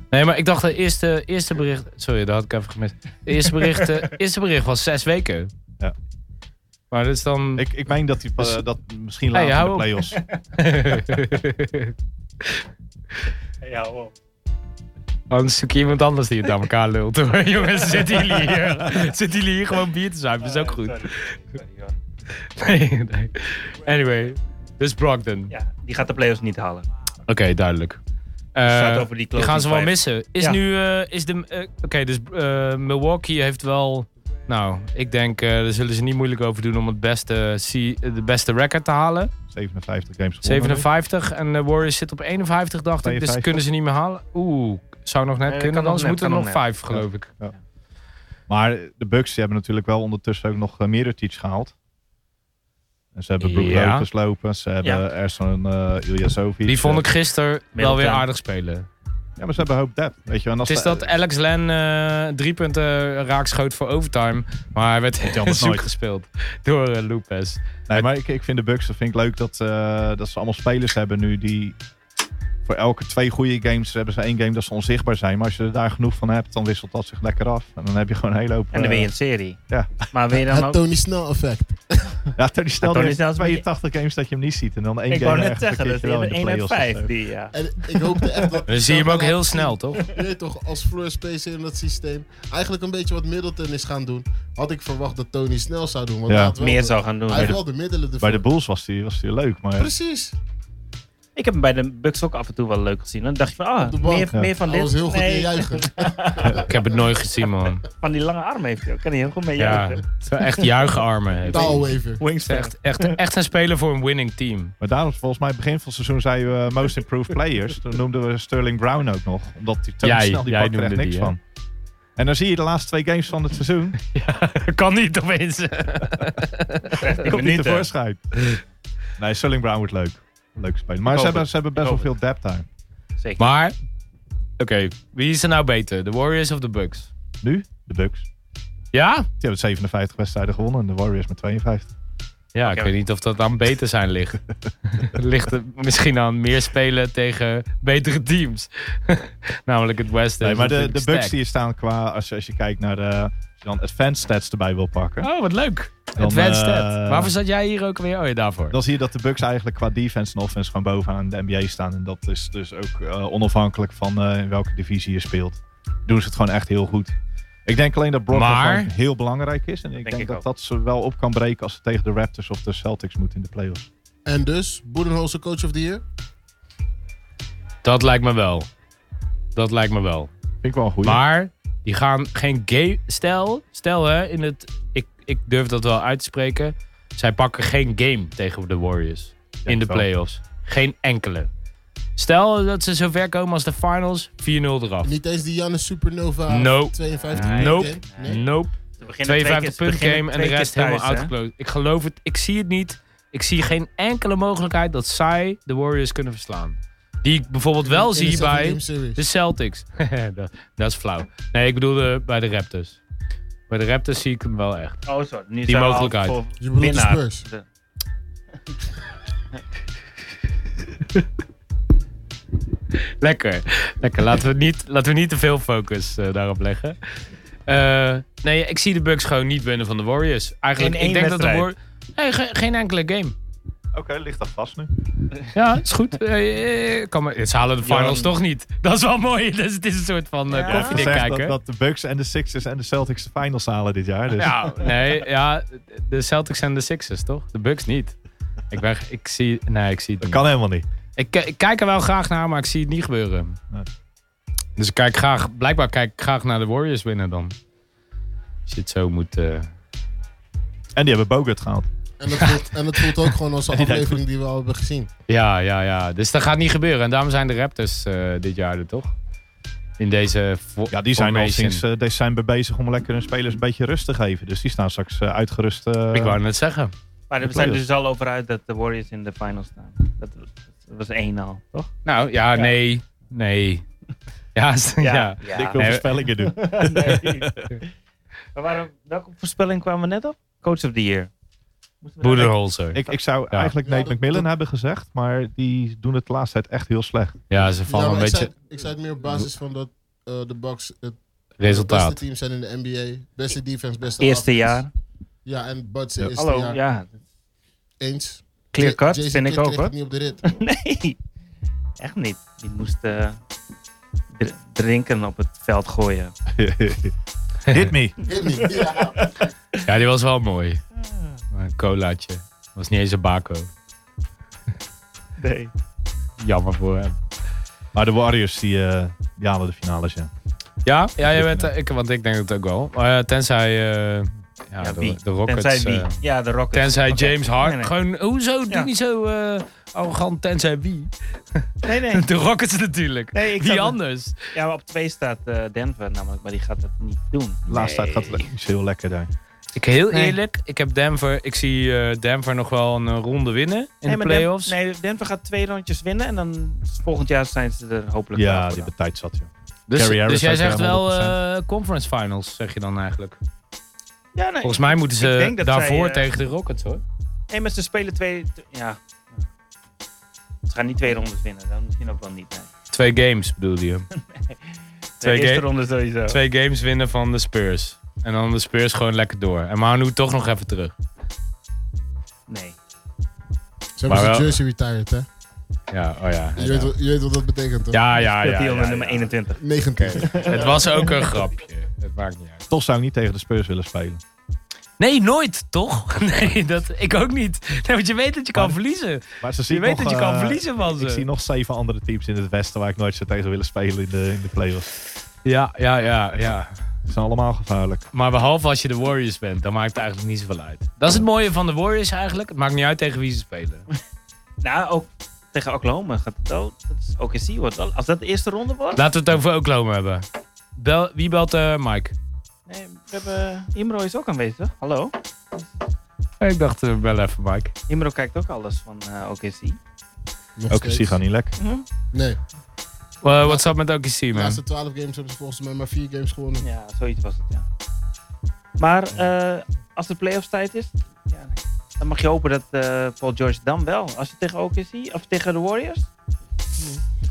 Speaker 5: Nee, maar ik dacht, het eerste, eerste bericht... Sorry, dat had ik even gemist. Het eerste bericht, eh, eerste bericht was zes weken.
Speaker 4: Ja.
Speaker 5: Maar dat is dan...
Speaker 4: Ik, ik meen dat, hij,
Speaker 5: Dus-
Speaker 4: eh, dat misschien
Speaker 5: Hey,
Speaker 4: later in
Speaker 5: hou
Speaker 4: de
Speaker 5: op.
Speaker 4: play-offs.
Speaker 7: Ja, hoor.
Speaker 5: Anders zoek je iemand anders die het aan elkaar lult hoor. Jongens, zitten jullie hier, zitten jullie hier gewoon bier te zuipen? is ook goed. Nee, nee. Anyway, dus Brogdon.
Speaker 7: Ja, die gaat de playoffs niet halen.
Speaker 4: Eh,
Speaker 5: Oké, duidelijk.
Speaker 7: Dus staat
Speaker 5: Eh,
Speaker 7: over die
Speaker 5: die
Speaker 7: closing
Speaker 5: gaan ze wel
Speaker 7: five.
Speaker 5: missen. Is
Speaker 7: Ja.
Speaker 5: nu, eh, is de, eh, oké, dus eh, Milwaukee heeft wel, nou, ik denk, eh daar zullen ze niet moeilijk over doen om het beste, se- eh, de beste record te halen.
Speaker 4: 57 games gewonnen.
Speaker 5: 57 en de Warriors zit op 51, dacht ik, dus
Speaker 4: 52.
Speaker 5: kunnen ze niet meer halen. Oeh, zou nog net
Speaker 7: Nee, dat Eh, kan
Speaker 5: kunnen, anders
Speaker 7: nog net,
Speaker 5: moeten er
Speaker 7: kan
Speaker 5: nog
Speaker 7: nog
Speaker 5: vijf, geloof ik.
Speaker 4: Maar de Bucks die hebben natuurlijk wel ondertussen ook nog uh, Mirotic gehaald. En ze hebben Brook
Speaker 5: Ja.
Speaker 4: Lopez lopen. Ze hebben
Speaker 7: Ja.
Speaker 4: Ersan eh Ilyasovic.
Speaker 5: Die vond ik gisteren wel weer
Speaker 7: Middleton.
Speaker 5: aardig spelen.
Speaker 4: Ja, maar ze hebben hoop depth. Weet je. En als
Speaker 5: Het is
Speaker 4: de-
Speaker 5: dat Alex Len eh, drie punten raak schoot voor overtime, maar hij werd
Speaker 4: Jammer,
Speaker 5: zoek
Speaker 4: nooit.
Speaker 5: gespeeld door eh, Lopez.
Speaker 4: Nee, maar ik, ik vind de Bucks, dat vind ik leuk dat, eh, dat ze allemaal spelers hebben nu die voor elke twee goede games hebben ze één game dat ze onzichtbaar zijn. Maar als je er daar genoeg van hebt, dan wisselt dat zich lekker af. En dan heb je gewoon een hele hoop...
Speaker 7: En dan
Speaker 4: eh,
Speaker 7: win je een serie.
Speaker 4: ja.
Speaker 7: Maar wil je dan
Speaker 6: Het
Speaker 7: ook...
Speaker 6: Tony Snell effect.
Speaker 4: Ja, Tony Snell
Speaker 7: Tony
Speaker 4: die
Speaker 7: Snell
Speaker 4: heeft
Speaker 7: is een beetje-
Speaker 4: 82 games dat je hem niet ziet. En dan één
Speaker 7: Ik
Speaker 4: game
Speaker 7: wou net
Speaker 4: ergens een
Speaker 7: zeggen, dat
Speaker 4: keertje wel
Speaker 7: is
Speaker 4: in
Speaker 7: 1
Speaker 4: de
Speaker 7: uit
Speaker 4: playoffs of
Speaker 7: 5
Speaker 4: zo.
Speaker 7: die, eh, ja.
Speaker 6: En ik hoopte echt dat...
Speaker 5: We zien hem ook heel snel, toch?
Speaker 6: Je weet toch, als floor spacer in dat systeem. Eigenlijk een beetje wat Middleton is gaan doen. Had ik verwacht dat Tony snel zou doen. Want
Speaker 4: Ja.
Speaker 6: hij had wel
Speaker 7: Meer
Speaker 6: de-
Speaker 7: zou gaan doen.
Speaker 6: Hij heeft wel de middelen ervoor.
Speaker 4: Bij de Bulls was die, was die leuk, maar
Speaker 6: Precies.
Speaker 7: Ik heb hem bij de Bucks ook af en toe wel leuk gezien. Dan dacht je van, ah,
Speaker 6: de bank,
Speaker 7: meer,
Speaker 4: ja.
Speaker 7: meer van
Speaker 6: Hij
Speaker 7: dit.
Speaker 6: was heel goed in
Speaker 7: nee,
Speaker 6: juichen.
Speaker 5: Ik heb het nooit gezien, man.
Speaker 7: van die lange armen heeft hij ook. Kan hij heel goed mee
Speaker 5: Ja,
Speaker 7: juichen.
Speaker 5: het is wel echt juichenarmen. heeft hij. Het
Speaker 6: Taalwaver.
Speaker 5: is Echt, echt, echt een speler voor een winning team.
Speaker 4: Maar daarom, volgens mij, begin van het seizoen zeiden we Most Improved Players. Toen noemden we Sterling Brown ook nog. Omdat die Tony
Speaker 5: Jij-
Speaker 4: Snell, die
Speaker 5: jij
Speaker 4: pakte er echt
Speaker 5: noemde
Speaker 4: niks
Speaker 5: die, hè?
Speaker 4: van. En dan zie je de laatste twee games van het seizoen.
Speaker 5: Kan niet opeens.
Speaker 7: Die
Speaker 4: Komt niet
Speaker 7: minuten.
Speaker 4: tevoorschijn. Nee, Sterling Brown wordt leuk. Leuk spelen. Maar
Speaker 7: Ik
Speaker 4: ze
Speaker 7: hoop
Speaker 4: hebben,
Speaker 7: het.
Speaker 4: ze hebben best
Speaker 7: Ik
Speaker 4: wel
Speaker 7: hoop
Speaker 4: veel depth daar.
Speaker 7: Zeker.
Speaker 5: Maar, oké, wie is er nou beter? De Warriors of de Bucks?
Speaker 4: Nu, de Bucks. Die
Speaker 5: Ja?
Speaker 4: hebben 57 wedstrijden gewonnen en de Warriors met 52.
Speaker 5: Ja, ik
Speaker 7: Oké.
Speaker 5: weet niet of dat aan beter zijn ligt. Het ligt er misschien aan meer spelen tegen betere teams. Namelijk het Westen.
Speaker 4: Nee,
Speaker 5: is
Speaker 4: maar de,
Speaker 5: natuurlijk
Speaker 4: de Bucks
Speaker 5: stacked.
Speaker 4: die hier staan qua, als, je- als je kijkt naar de, als je dan advanced stats erbij wil pakken.
Speaker 5: Oh, wat leuk.
Speaker 4: Dan,
Speaker 5: Advanced stat.
Speaker 4: eh,
Speaker 5: Waarvoor zat jij hier ook weer? Oh ja, daarvoor.
Speaker 4: Dan zie je dat de Bucks eigenlijk qua defense en offense gewoon bovenaan de NBA staan. En dat is dus ook eh, onafhankelijk van eh, in welke divisie je speelt. Doen ze het gewoon echt heel goed. Ik denk alleen dat Brock
Speaker 5: Maar-
Speaker 4: heel belangrijk is. En ik denk,
Speaker 7: ik
Speaker 4: dat
Speaker 7: ook.
Speaker 4: dat ze wel op kan breken als ze tegen de Raptors of de Celtics moeten in de playoffs.
Speaker 6: En dus, Boedenholzer coach of the year.
Speaker 5: Dat lijkt me wel. Dat lijkt me wel.
Speaker 4: Vind ik wel een goeie.
Speaker 5: Maar die gaan geen game. Stel, stel hè, in het. Ik, ik durf dat wel uit te spreken. Zij pakken geen game tegen de Warriors in de
Speaker 4: wel.
Speaker 5: playoffs. Geen enkele. Stel dat ze zover komen als de finals, 4-0 eraf.
Speaker 6: Niet eens die Janne Supernova.
Speaker 5: No.
Speaker 6: 52.
Speaker 5: Nope.
Speaker 6: Nee.
Speaker 5: Nope.
Speaker 7: We beginnen twee keer-
Speaker 5: 52
Speaker 7: we
Speaker 5: punt
Speaker 7: beginnen
Speaker 5: game en de
Speaker 7: twee keer
Speaker 5: rest helemaal
Speaker 7: thuis, hè?
Speaker 5: uitgekloot. Ik geloof het. Ik zie het niet. Ik zie geen enkele mogelijkheid dat zij de Warriors kunnen verslaan. Die ik bijvoorbeeld wel
Speaker 6: In de
Speaker 5: zie Dus-
Speaker 6: seven
Speaker 5: bij.
Speaker 6: game series.
Speaker 5: De Celtics. dat, dat is flauw. Nee, ik bedoelde bij de Raptors. Bij de Raptors zie ik hem wel echt.
Speaker 7: Oh, zo. Nu
Speaker 5: Die
Speaker 7: zijn we
Speaker 5: mogelijkheid.
Speaker 7: al voor
Speaker 6: Je bedoelt de
Speaker 7: winnaar.
Speaker 6: Spurs.
Speaker 7: De-
Speaker 5: Lekker. Lekker. Laten we niet, laten we niet te veel focus eh, daarop leggen. Eh, nee, ik zie de Bucks gewoon niet winnen van de Warriors. Eigenlijk,
Speaker 8: In
Speaker 5: ik
Speaker 8: één
Speaker 5: denk dat de
Speaker 8: wedstrijd.
Speaker 5: Warriors. Nee, ge- geen enkele game.
Speaker 4: Oké, ligt dat vast nu?
Speaker 5: Ja, is goed. Eh, eh, kan maar, ze halen de finals
Speaker 7: Ja.
Speaker 5: toch niet. Dat is wel mooi. Dus het is een soort van eh,
Speaker 8: Ja.
Speaker 5: koffiedik
Speaker 4: Gezegd
Speaker 5: kijken.
Speaker 4: Dat, dat de Bucks en de Sixers en de Celtics de finals halen dit jaar. Dus.
Speaker 5: Ja, nee, ja, de Celtics en de Sixers, toch? De Bucks niet. Ik, ben, ik zie, nee, ik zie het
Speaker 4: Dat
Speaker 5: niet.
Speaker 4: kan helemaal niet.
Speaker 5: Ik, k- ik kijk er wel graag naar, maar ik zie het niet gebeuren.
Speaker 4: Nee.
Speaker 5: Dus ik kijk graag, blijkbaar kijk ik graag naar de Warriors winnen dan. Als je het zo moet... eh,
Speaker 4: En die hebben Bogart gehaald.
Speaker 6: En het voelt, en het voelt ook gewoon als een
Speaker 4: Die lijkt
Speaker 6: aflevering die we al hebben gezien.
Speaker 5: Ja, ja, ja. Dus dat gaat niet gebeuren. En daarom zijn de Raptors eh, dit jaar er toch? In deze vo-
Speaker 4: Ja, die zijn al
Speaker 5: formation.
Speaker 4: sinds eh, december bezig om lekker hun spelers een beetje rust te geven. Dus die staan straks eh, uitgerust. eh,
Speaker 5: Ik wou net zeggen.
Speaker 7: Maar we zijn dus al over uit dat de Warriors in de finals staan. Dat was, dat was één al, toch?
Speaker 5: Nou, ja, nee. Nee. Ja, s- ja.
Speaker 4: Ik wil
Speaker 5: Nee,
Speaker 4: voorspellingen doen.
Speaker 7: Nee. Maar waarom, welke voorspelling kwamen we net op? Coach of the Year. Moesten we daar-
Speaker 5: Boederholzer.
Speaker 4: Ik, ik zou
Speaker 5: Ja.
Speaker 4: eigenlijk
Speaker 6: Ja,
Speaker 4: Nate
Speaker 6: dat-
Speaker 4: McMillan
Speaker 6: dat-
Speaker 4: hebben gezegd, maar die doen het de laatste tijd echt heel slecht.
Speaker 5: Ja, ze vallen
Speaker 6: Ja,
Speaker 5: een
Speaker 6: maar ik,
Speaker 5: beetje...
Speaker 6: zei, ik zei het meer op basis van dat eh, de Bucks het beste
Speaker 5: Resultaat.
Speaker 6: team zijn in de NBA. Beste defense, beste
Speaker 7: Eerste
Speaker 6: offense.
Speaker 7: jaar.
Speaker 6: Ja, en Buds is eerste
Speaker 7: Hallo,
Speaker 6: jaar.
Speaker 7: ja.
Speaker 6: Eens.
Speaker 7: Clear
Speaker 6: Ja,
Speaker 7: cut,
Speaker 6: Jason
Speaker 7: vind ik
Speaker 6: Kidd
Speaker 7: ook
Speaker 6: kreeg
Speaker 7: hoor.
Speaker 6: het niet op de rit.
Speaker 7: Nee, echt niet. Die moest eh, dr- drinken op het veld gooien.
Speaker 4: Hit me.
Speaker 6: Weet niet. Ja.
Speaker 5: Ja, die was wel mooi. Maar Een colaatje. Was niet eens een bako.
Speaker 7: Nee.
Speaker 5: Jammer voor hem.
Speaker 4: Maar de Warriors die, eh, die halen de finales, ja.
Speaker 5: Ja, ja je bent, eh, ik, want ik denk het ook wel. Maar ja, tenzij eh, ja,
Speaker 7: Ja,
Speaker 5: de,
Speaker 7: wie?
Speaker 5: de Rockets...
Speaker 7: Tenzij wie?
Speaker 5: eh,
Speaker 7: ja, de Rockets.
Speaker 5: tenzij
Speaker 7: Oké.
Speaker 5: James Harden.
Speaker 7: Nee, nee.
Speaker 5: Gewoon, hoezo? Doe
Speaker 7: Ja.
Speaker 5: niet zo eh, arrogant, tenzij wie?
Speaker 7: Nee, nee.
Speaker 5: De Rockets natuurlijk.
Speaker 7: Nee, ik
Speaker 5: Wie
Speaker 7: zat-
Speaker 5: anders?
Speaker 7: Ja, maar op twee staat eh, Denver namelijk, maar die gaat dat niet doen.
Speaker 4: De laatste tijd gaat het echt niet zo heel lekker daar.
Speaker 5: Ik, heel
Speaker 7: Nee.
Speaker 5: eerlijk, ik heb Denver... Ik zie eh, Denver nog wel een eh, ronde winnen in
Speaker 7: nee,
Speaker 5: de
Speaker 7: maar Den-
Speaker 5: playoffs.
Speaker 7: nee, Denver gaat twee rondjes winnen en dan volgend jaar zijn ze er hopelijk wel
Speaker 4: Ja,
Speaker 7: voor dan.
Speaker 4: die hebben tijd zat, joh.
Speaker 5: Dus,
Speaker 4: Gary Harris
Speaker 5: dus jij
Speaker 4: staat
Speaker 5: zegt
Speaker 4: weer
Speaker 5: wel
Speaker 4: 100%.
Speaker 5: eh, conference finals, zeg je dan eigenlijk.
Speaker 7: ja, nee.
Speaker 5: Volgens mij moeten
Speaker 7: ik
Speaker 5: ze
Speaker 7: denk dat
Speaker 5: daarvoor
Speaker 7: zij, eh,
Speaker 5: tegen de Rockets hoor.
Speaker 7: Nee, maar ze spelen twee... t- Ja. Ze gaan niet twee rondes winnen, dan misschien ook wel niet. nee.
Speaker 5: Twee games bedoelde je. Twee
Speaker 7: de eerste
Speaker 5: ga-
Speaker 7: ronde sowieso.
Speaker 5: Twee games winnen van de Spurs. En dan de Spurs gewoon lekker door. En Manu toch nog even terug.
Speaker 7: Nee.
Speaker 6: Ze hebben
Speaker 5: wel-
Speaker 6: zijn jersey retired, hè?
Speaker 5: Ja, oh ja.
Speaker 6: Je, weet,
Speaker 5: Ja,
Speaker 6: wat- je weet wat dat betekent, toch?
Speaker 5: ja, ja.
Speaker 7: Dat
Speaker 5: ja,
Speaker 7: die
Speaker 5: ja,
Speaker 7: onder
Speaker 5: ja.
Speaker 7: nummer 21.
Speaker 6: 19.
Speaker 5: Het was ook een grapje. Het maakt niet uit.
Speaker 4: Toch zou ik niet tegen de Spurs willen spelen.
Speaker 5: Nee, nooit, toch? Nee, dat, ik ook niet. Nee, want je weet dat je kan
Speaker 4: Maar-
Speaker 5: verliezen.
Speaker 4: Maar ze
Speaker 5: Je
Speaker 4: zien
Speaker 5: weet
Speaker 4: nog,
Speaker 5: dat je kan
Speaker 4: eh,
Speaker 5: verliezen van
Speaker 4: Ik zie
Speaker 5: ze.
Speaker 4: nog zeven andere teams in het Westen waar ik nooit zo tegen zou willen spelen in de, in de playoffs.
Speaker 5: Ja, ja, ja, ja.
Speaker 4: Ze zijn allemaal gevaarlijk.
Speaker 5: Maar behalve als je de Warriors bent, dan maakt het eigenlijk niet zoveel uit. Dat is het mooie van de Warriors eigenlijk. Het maakt niet uit tegen wie ze spelen.
Speaker 7: Nou, ook tegen Oklahoma gaat het dood. Dat is OKC wordt wel. Als dat de eerste ronde wordt.
Speaker 5: Laten we het over Oklahoma hebben. Bel, wie belt eh, Mike?
Speaker 7: Nee, we hebben... Imro is ook aanwezig. Hallo.
Speaker 5: Ik dacht, eh, bel even Mike.
Speaker 7: Imro kijkt ook alles van eh, OKC.
Speaker 6: Nog
Speaker 4: Ook
Speaker 6: steeds.
Speaker 4: ze gaan niet lekker.
Speaker 6: Nee,
Speaker 5: Wat what's up Eh, met OKC,
Speaker 6: de
Speaker 5: man?
Speaker 6: laatste 12 games hebben ze volgens mij maar 4 games gewonnen.
Speaker 7: Ja, zoiets was het, ja. Maar eh, als de playoffs tijd is, ja, dan mag je hopen dat eh, Paul George dan wel. Als je tegen OKC of tegen de Warriors.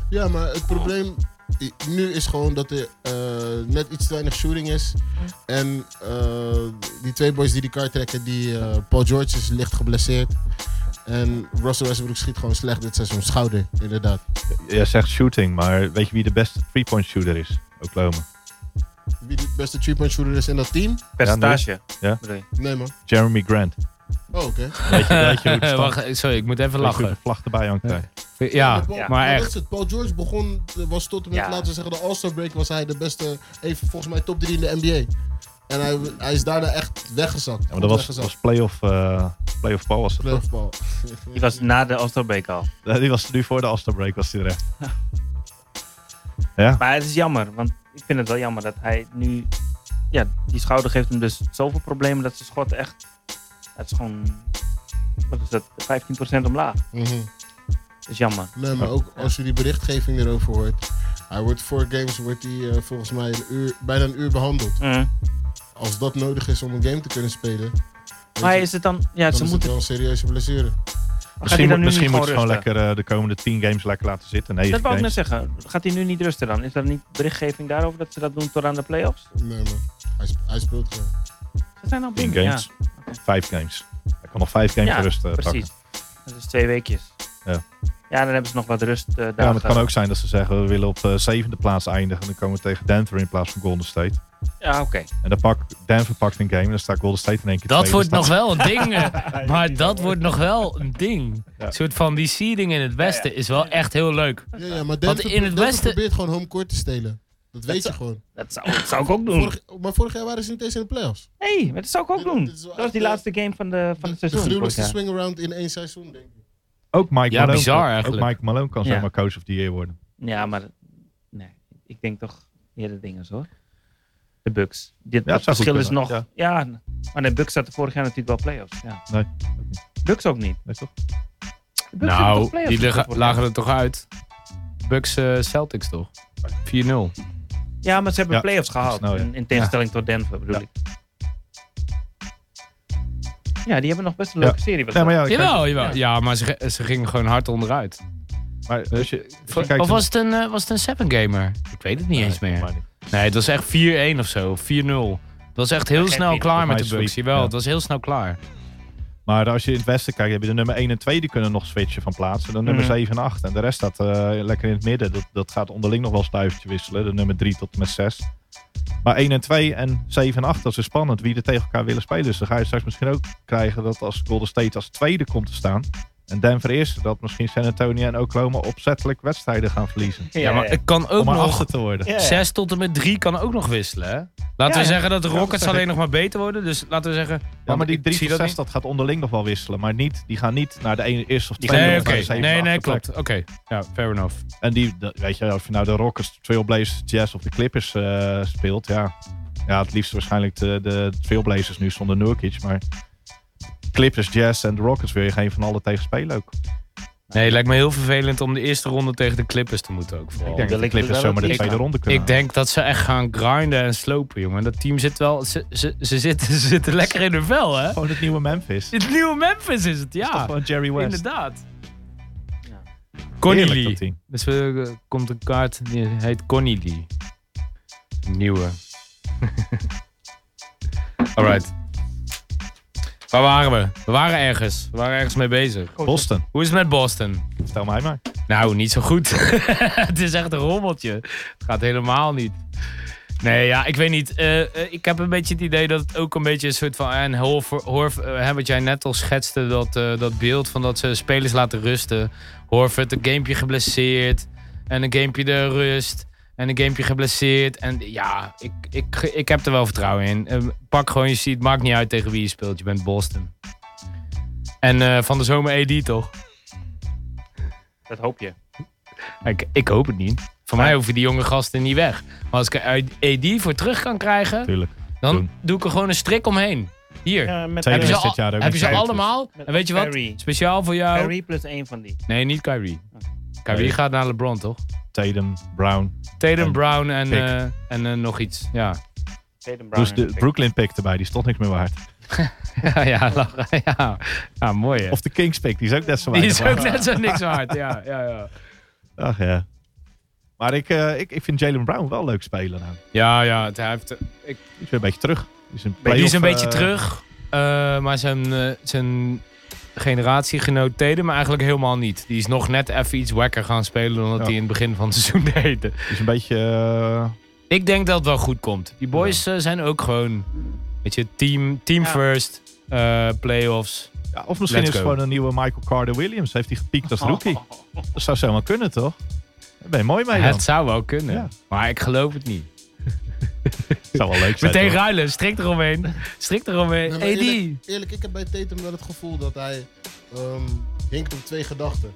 Speaker 6: Ja, maar het probleem i- nu is gewoon dat er eh, net iets te weinig shooting is. En eh, die twee boys die die kaart trekken, die, eh, Paul George is licht geblesseerd. En Russell Westbrook schiet gewoon slecht dit seizoen. Schouder, inderdaad.
Speaker 4: Jij zegt shooting, maar weet je wie de beste three-point shooter is? Oklahoma.
Speaker 6: Wie de beste three-point shooter is in dat team?
Speaker 7: Percentage.
Speaker 4: Ja.
Speaker 7: bedoel je.
Speaker 6: Nee, man.
Speaker 4: Jeremy Grant.
Speaker 6: Oh, oké.
Speaker 4: Weet je, weet je hoe het stand- weet
Speaker 5: Eh, Wacht, sorry, ik moet even
Speaker 4: je hoe de
Speaker 5: lachen.
Speaker 4: vlag erbij hangt daar?
Speaker 5: Ja,
Speaker 6: Paul-
Speaker 7: Ja.
Speaker 5: maar
Speaker 6: dat
Speaker 5: echt.
Speaker 6: is het. Paul George begon, eh, was tot en met,
Speaker 7: Ja.
Speaker 6: laten we zeggen, de All-Star break was hij de beste, even volgens mij top 3 in de NBA. En hij, hij is daarna echt weggezakt.
Speaker 4: Ja, maar dat was,
Speaker 6: Goed weggezakt.
Speaker 4: was playoff, eh playoff Paul was dat
Speaker 6: Playoff
Speaker 4: toch?
Speaker 6: bal.
Speaker 7: Die was na de Oosterbeek al.
Speaker 4: Eh, Die was nu voor de All-Star break was hij er echt. Ja,
Speaker 7: Maar het is jammer, want ik vind het wel jammer dat hij nu... Ja, die schouder geeft hem dus zoveel problemen dat zijn schot echt... Het is gewoon... Wat is dat? 15% omlaag.
Speaker 6: Mhm.
Speaker 7: Dat is jammer.
Speaker 6: Nee, maar ook als je die berichtgeving erover hoort. Hij wordt voor games wordt hij, eh, volgens mij een uur, bijna een uur behandeld.
Speaker 7: Mm.
Speaker 6: Als dat nodig is om een game te kunnen spelen. weet
Speaker 7: Maar
Speaker 6: je,
Speaker 7: is het dan... Ja,
Speaker 6: dan
Speaker 7: ze
Speaker 6: is het
Speaker 7: moeten...
Speaker 6: wel een serieuze blessure.
Speaker 4: Misschien,
Speaker 7: dan
Speaker 4: moet-
Speaker 7: nu
Speaker 4: misschien
Speaker 7: niet
Speaker 4: moeten ze
Speaker 7: gewoon
Speaker 4: gewoon lekker eh, de komende 10 games lekker laten zitten.
Speaker 7: Dat
Speaker 4: 9
Speaker 7: wou ik net
Speaker 4: games.
Speaker 7: zeggen. Gaat hij nu niet rusten dan? Is er niet berichtgeving daarover dat ze dat doen tot aan de playoffs?
Speaker 6: Nee, man. Hij, sp- hij speelt gewoon.
Speaker 7: Dat zijn al
Speaker 4: 10
Speaker 7: dingen,
Speaker 4: games. 5 games. Hij kan nog 5 games
Speaker 7: Ja,
Speaker 4: rust eh, pakken.
Speaker 7: precies. Dat is twee weekjes.
Speaker 4: Ja.
Speaker 7: ja, dan hebben ze nog wat rust. eh
Speaker 4: Ja, maar
Speaker 7: dagen.
Speaker 4: het kan ook zijn dat ze zeggen we willen op eh, zevende plaats eindigen. En dan komen we tegen Denver in plaats van Golden State.
Speaker 7: Ja, oké.
Speaker 4: En dan pak Denver pakt een game en dan staat Golden State in één keer
Speaker 5: Dat
Speaker 4: tweede.
Speaker 5: wordt
Speaker 4: Dan
Speaker 5: nog
Speaker 4: staat-
Speaker 5: wel een ding. eh, Maar dat wordt nog wel een ding.
Speaker 4: Ja.
Speaker 5: Een soort van die seeding in het westen is wel echt heel leuk.
Speaker 6: Ja, ja, maar Denver,
Speaker 5: in het
Speaker 6: Denver
Speaker 5: Westen-
Speaker 6: probeert gewoon home court te stelen. Dat weet je gewoon.
Speaker 7: Dat zou, dat zou ik ook doen.
Speaker 6: Vorig, maar vorig jaar waren ze niet eens in de playoffs.
Speaker 7: Nee, maar dat zou ik ook
Speaker 6: Dit-
Speaker 7: doen.
Speaker 6: dit is wel
Speaker 7: Dat was
Speaker 6: echt,
Speaker 7: die
Speaker 6: eh,
Speaker 7: laatste game van, de, van het
Speaker 6: de
Speaker 7: seizoen. vorig
Speaker 6: gruwelijkste
Speaker 7: jaar.
Speaker 6: swing-around in één seizoen, denk ik.
Speaker 4: Ook Mike
Speaker 5: Ja,
Speaker 4: Malone.
Speaker 5: bizar
Speaker 4: kan-
Speaker 5: eigenlijk.
Speaker 4: Ook Mike Malone kan
Speaker 7: Ja.
Speaker 4: zomaar coach of the year worden.
Speaker 7: Ja, maar nee, ik denk toch eerder dingen hoor. De Bucks. Dit
Speaker 4: Ja,
Speaker 7: dat
Speaker 4: het zou goed
Speaker 7: verschil is nog.
Speaker 4: kunnen,
Speaker 7: Ja. maar de Bucks zaten vorig jaar natuurlijk wel playoffs. Ja.
Speaker 4: Nee.
Speaker 7: Bucks ook niet.
Speaker 4: Weet je toch?
Speaker 7: De Bucks hebben toch
Speaker 5: Nou,
Speaker 7: playoffs
Speaker 5: die
Speaker 7: gespeeld
Speaker 5: liggen-
Speaker 7: vorig jaar?
Speaker 5: lagen er toch uit. Bucks eh, Celtics toch? 4-0.
Speaker 7: Ja, maar ze hebben
Speaker 4: Ja,
Speaker 7: playoffs gehaald.
Speaker 4: snel, ja.
Speaker 7: in, in tegenstelling tot Denver bedoel
Speaker 4: Ja.
Speaker 7: ik. Ja, die hebben nog best een
Speaker 4: Ja.
Speaker 7: leuke serie. was
Speaker 4: Nee, maar
Speaker 7: dat?
Speaker 4: ja, ik kijk-
Speaker 5: Jawel, jawel. Oh, Ja, maar ze, ze gingen gewoon hard onderuit.
Speaker 4: maar als je, als je kijkt-
Speaker 5: Of was het een, eh, was het een seven gamer? Ik weet het niet eens
Speaker 4: Nee,
Speaker 5: meer.
Speaker 4: maar niet.
Speaker 5: Nee, het was echt 4-1 of zo. 4-0. Het was echt heel
Speaker 7: geeft
Speaker 5: snel
Speaker 7: niet.
Speaker 5: klaar met de
Speaker 4: Volgens mij
Speaker 5: Bucks.
Speaker 4: sweep,
Speaker 5: Jawel,
Speaker 4: ja.
Speaker 5: het was heel snel klaar.
Speaker 4: Maar als je in het westen kijkt, heb je de nummer 1 en 2 die kunnen nog switchen van plaats. En dan nummer
Speaker 7: Mhm.
Speaker 4: 7 en 8. En de rest staat eh, lekker in het midden. Dat, dat gaat onderling nog wel stuivertje wisselen. De nummer 3 tot en met 6. Maar 1 en 2 en 7 en 8, dat is spannend. Wie er tegen elkaar willen spelen. Dus dan ga je straks misschien ook krijgen dat als Golden State als tweede komt te staan. En Denver eerste, dat misschien San Antonio en Oklahoma opzettelijk wedstrijden gaan verliezen.
Speaker 5: Ja, maar het kan ook
Speaker 4: Om Oh, maar
Speaker 5: nog...
Speaker 4: achter te worden.
Speaker 7: Ja, ja.
Speaker 5: 6 tot en met 3 kan ook nog wisselen, hè? Laten
Speaker 7: Ja,
Speaker 5: we
Speaker 7: ja.
Speaker 5: zeggen dat de
Speaker 4: Ja, dat
Speaker 5: Rockets
Speaker 4: zeg
Speaker 5: alleen nog maar beter worden. Dus laten we zeggen...
Speaker 4: Ja, maar die
Speaker 5: ik
Speaker 4: 3
Speaker 5: zie
Speaker 4: tot 6,
Speaker 5: niet.
Speaker 4: dat gaat onderling nog wel wisselen. Maar niet, die gaan niet naar de ene, eerste of
Speaker 5: Die
Speaker 4: tweede.
Speaker 5: nee,
Speaker 4: of
Speaker 5: oké.
Speaker 4: naar de zevende,
Speaker 5: Nee,
Speaker 4: achtste
Speaker 5: nee,
Speaker 4: plek.
Speaker 5: klopt. Oké. Ja, fair enough.
Speaker 4: En die, dat- weet je, of je nou de Rockets, Trailblazers, Jazz of de Clippers eh, speelt, ja. Ja, het liefst waarschijnlijk de, de Trailblazers nu zonder Nurkic, maar Clippers, Jazz en de Rockets wil je geen van alle tegen spelen ook.
Speaker 5: Nee, het lijkt me heel vervelend om de eerste ronde tegen de Clippers te moeten ook. vooral.
Speaker 4: Ik denk
Speaker 7: wil
Speaker 4: dat de
Speaker 7: ik dus
Speaker 4: Clippers
Speaker 7: wel
Speaker 4: zomaar de
Speaker 7: dat
Speaker 4: tweede
Speaker 7: ik-
Speaker 4: ronde kunnen.
Speaker 5: Ik denk dat ze echt gaan grinden en slopen, jongen. Dat team zit wel... Ze, ze, ze, zitten, ze zitten lekker in hun vel, hè?
Speaker 4: gewoon het nieuwe Memphis.
Speaker 5: Het nieuwe Memphis is het,
Speaker 4: Dat is toch
Speaker 5: ja.
Speaker 4: gewoon Jerry West.
Speaker 5: Inderdaad.
Speaker 7: Ja.
Speaker 5: Connie
Speaker 4: Heerlijk,
Speaker 5: Lee.
Speaker 4: dat team.
Speaker 5: Dus er eh, komt een kaart die heet Connie Lee. Een Nieuwe. Alright. Waar waren we? We waren ergens. We waren ergens mee bezig.
Speaker 4: Boston,
Speaker 5: Hoe is het met Boston?
Speaker 4: vertel mij maar.
Speaker 5: Nou, niet zo goed. het is echt een rommeltje. Het gaat helemaal niet. Nee, ja, ik weet niet. Eh, eh, ik heb een beetje het idee dat het ook een beetje een soort van... En Horf, Horf, eh, hè, wat jij net al schetste, dat, eh, dat beeld van dat ze spelers laten rusten. Horford, een gamepje geblesseerd. En een gamepje de rust. En een gamepje geblesseerd. En ja, ik, ik, ik heb er wel vertrouwen in. Eh, pak gewoon je seat. Maakt niet uit tegen wie je speelt. Je bent Boston. En eh, van de zomer AD toch?
Speaker 7: Dat hoop je.
Speaker 5: Ik, ik hoop het niet. Voor mij hoeven die jonge gasten niet weg. Maar als ik er AD voor terug kan krijgen,
Speaker 4: Tuurlijk.
Speaker 5: dan
Speaker 4: Doen.
Speaker 5: doe ik er gewoon een strik omheen. Hier.
Speaker 7: Ja, met
Speaker 4: Tweede
Speaker 5: Heb je ze,
Speaker 4: is
Speaker 5: al-
Speaker 4: dit jaar ook
Speaker 5: heb je
Speaker 4: niet
Speaker 5: ze
Speaker 4: zo goed,
Speaker 5: allemaal?
Speaker 7: dus.
Speaker 5: En weet je wat?
Speaker 7: Kyrie.
Speaker 5: Speciaal voor jou.
Speaker 7: Kyrie plus één van die.
Speaker 5: Nee, niet Kyrie. Kyrie
Speaker 4: Nee.
Speaker 5: gaat naar LeBron, toch?
Speaker 4: Tatum, Brown.
Speaker 5: Tatum,
Speaker 4: En
Speaker 5: Brown en,
Speaker 4: Pick.
Speaker 5: eh, en eh, nog iets. Ja,
Speaker 7: Tatum Brown
Speaker 4: Dus de
Speaker 7: en Pick.
Speaker 4: Brooklyn pick erbij, die stond niks meer waard.
Speaker 5: ja, ja, lachen. ja. ja mooi hè.
Speaker 4: Of de Kings pick, die is ook net zo
Speaker 5: die
Speaker 4: weinig
Speaker 5: is
Speaker 4: waard.
Speaker 5: ook net zo niks waard. Ja, ja, ja.
Speaker 4: Ach ja. Maar ik, eh, ik, ik vind Jalen Brown wel leuk spelen nou.
Speaker 5: ja, ja het, hij heeft, ik,
Speaker 4: Die is weer een beetje terug. Die is een,
Speaker 5: die is
Speaker 4: playoff,
Speaker 5: een beetje
Speaker 4: eh,
Speaker 5: terug. eh, maar zijn, eh, zijn generatiegenoot Teden, maar eigenlijk helemaal niet. Die is nog net even iets wekker gaan spelen dan dat
Speaker 4: Ja.
Speaker 5: hij in het begin van het seizoen deed.
Speaker 4: Die is een beetje... eh,
Speaker 5: Ik denk dat het wel goed komt. Die boys eh, zijn ook gewoon, weet je, team, team
Speaker 7: Ja.
Speaker 5: first, eh, playoffs.
Speaker 4: Ja, of misschien
Speaker 5: Let's
Speaker 4: is het
Speaker 5: go.
Speaker 4: gewoon een nieuwe Michael Carter Williams. Heeft hij gepiekt als rookie? Dat zou zomaar kunnen, toch? Daar ben je mooi mee dan.
Speaker 5: Het zou wel kunnen,
Speaker 4: Ja.
Speaker 5: maar ik geloof het niet.
Speaker 4: zou wel leuk zijn.
Speaker 5: Meteen
Speaker 4: hoor.
Speaker 5: ruilen, strik eromheen. Strik eromheen.
Speaker 6: Nee, maar
Speaker 5: Hey,
Speaker 6: eerlijk, eerlijk, ik heb bij Tatum wel het gevoel dat hij ehm, hinkt op twee gedachten.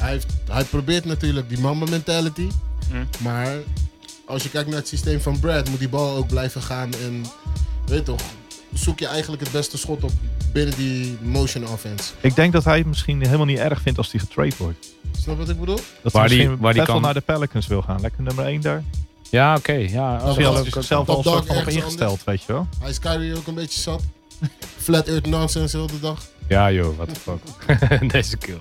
Speaker 6: Hij, heeft, hij probeert natuurlijk die mama mentality.
Speaker 7: Mm.
Speaker 6: Maar als je kijkt naar het systeem van Brad, moet die bal ook blijven gaan. En weet je toch, zoek je eigenlijk het beste schot op binnen die motion offense.
Speaker 4: Ik denk dat hij het misschien helemaal niet erg vindt als hij getrade wordt.
Speaker 6: Snap wat ik bedoel?
Speaker 5: Waar
Speaker 4: Dat hij
Speaker 5: die-
Speaker 4: misschien
Speaker 5: waar die
Speaker 4: net wel
Speaker 5: kan-
Speaker 4: naar de Pelicans wil gaan. Lekker nummer 1 daar.
Speaker 5: Ja, oké. ja,
Speaker 4: Of
Speaker 5: oh,
Speaker 4: hij
Speaker 6: dat-
Speaker 4: had zichzelf al
Speaker 6: dat
Speaker 4: een soort
Speaker 6: Doc
Speaker 4: van op
Speaker 6: ergens
Speaker 4: ingesteld, weet je wel.
Speaker 6: Hij is Kyrie ook een beetje zat. Flat earth nonsense heel de dag.
Speaker 5: Ja joh, what the fuck. Deze kill.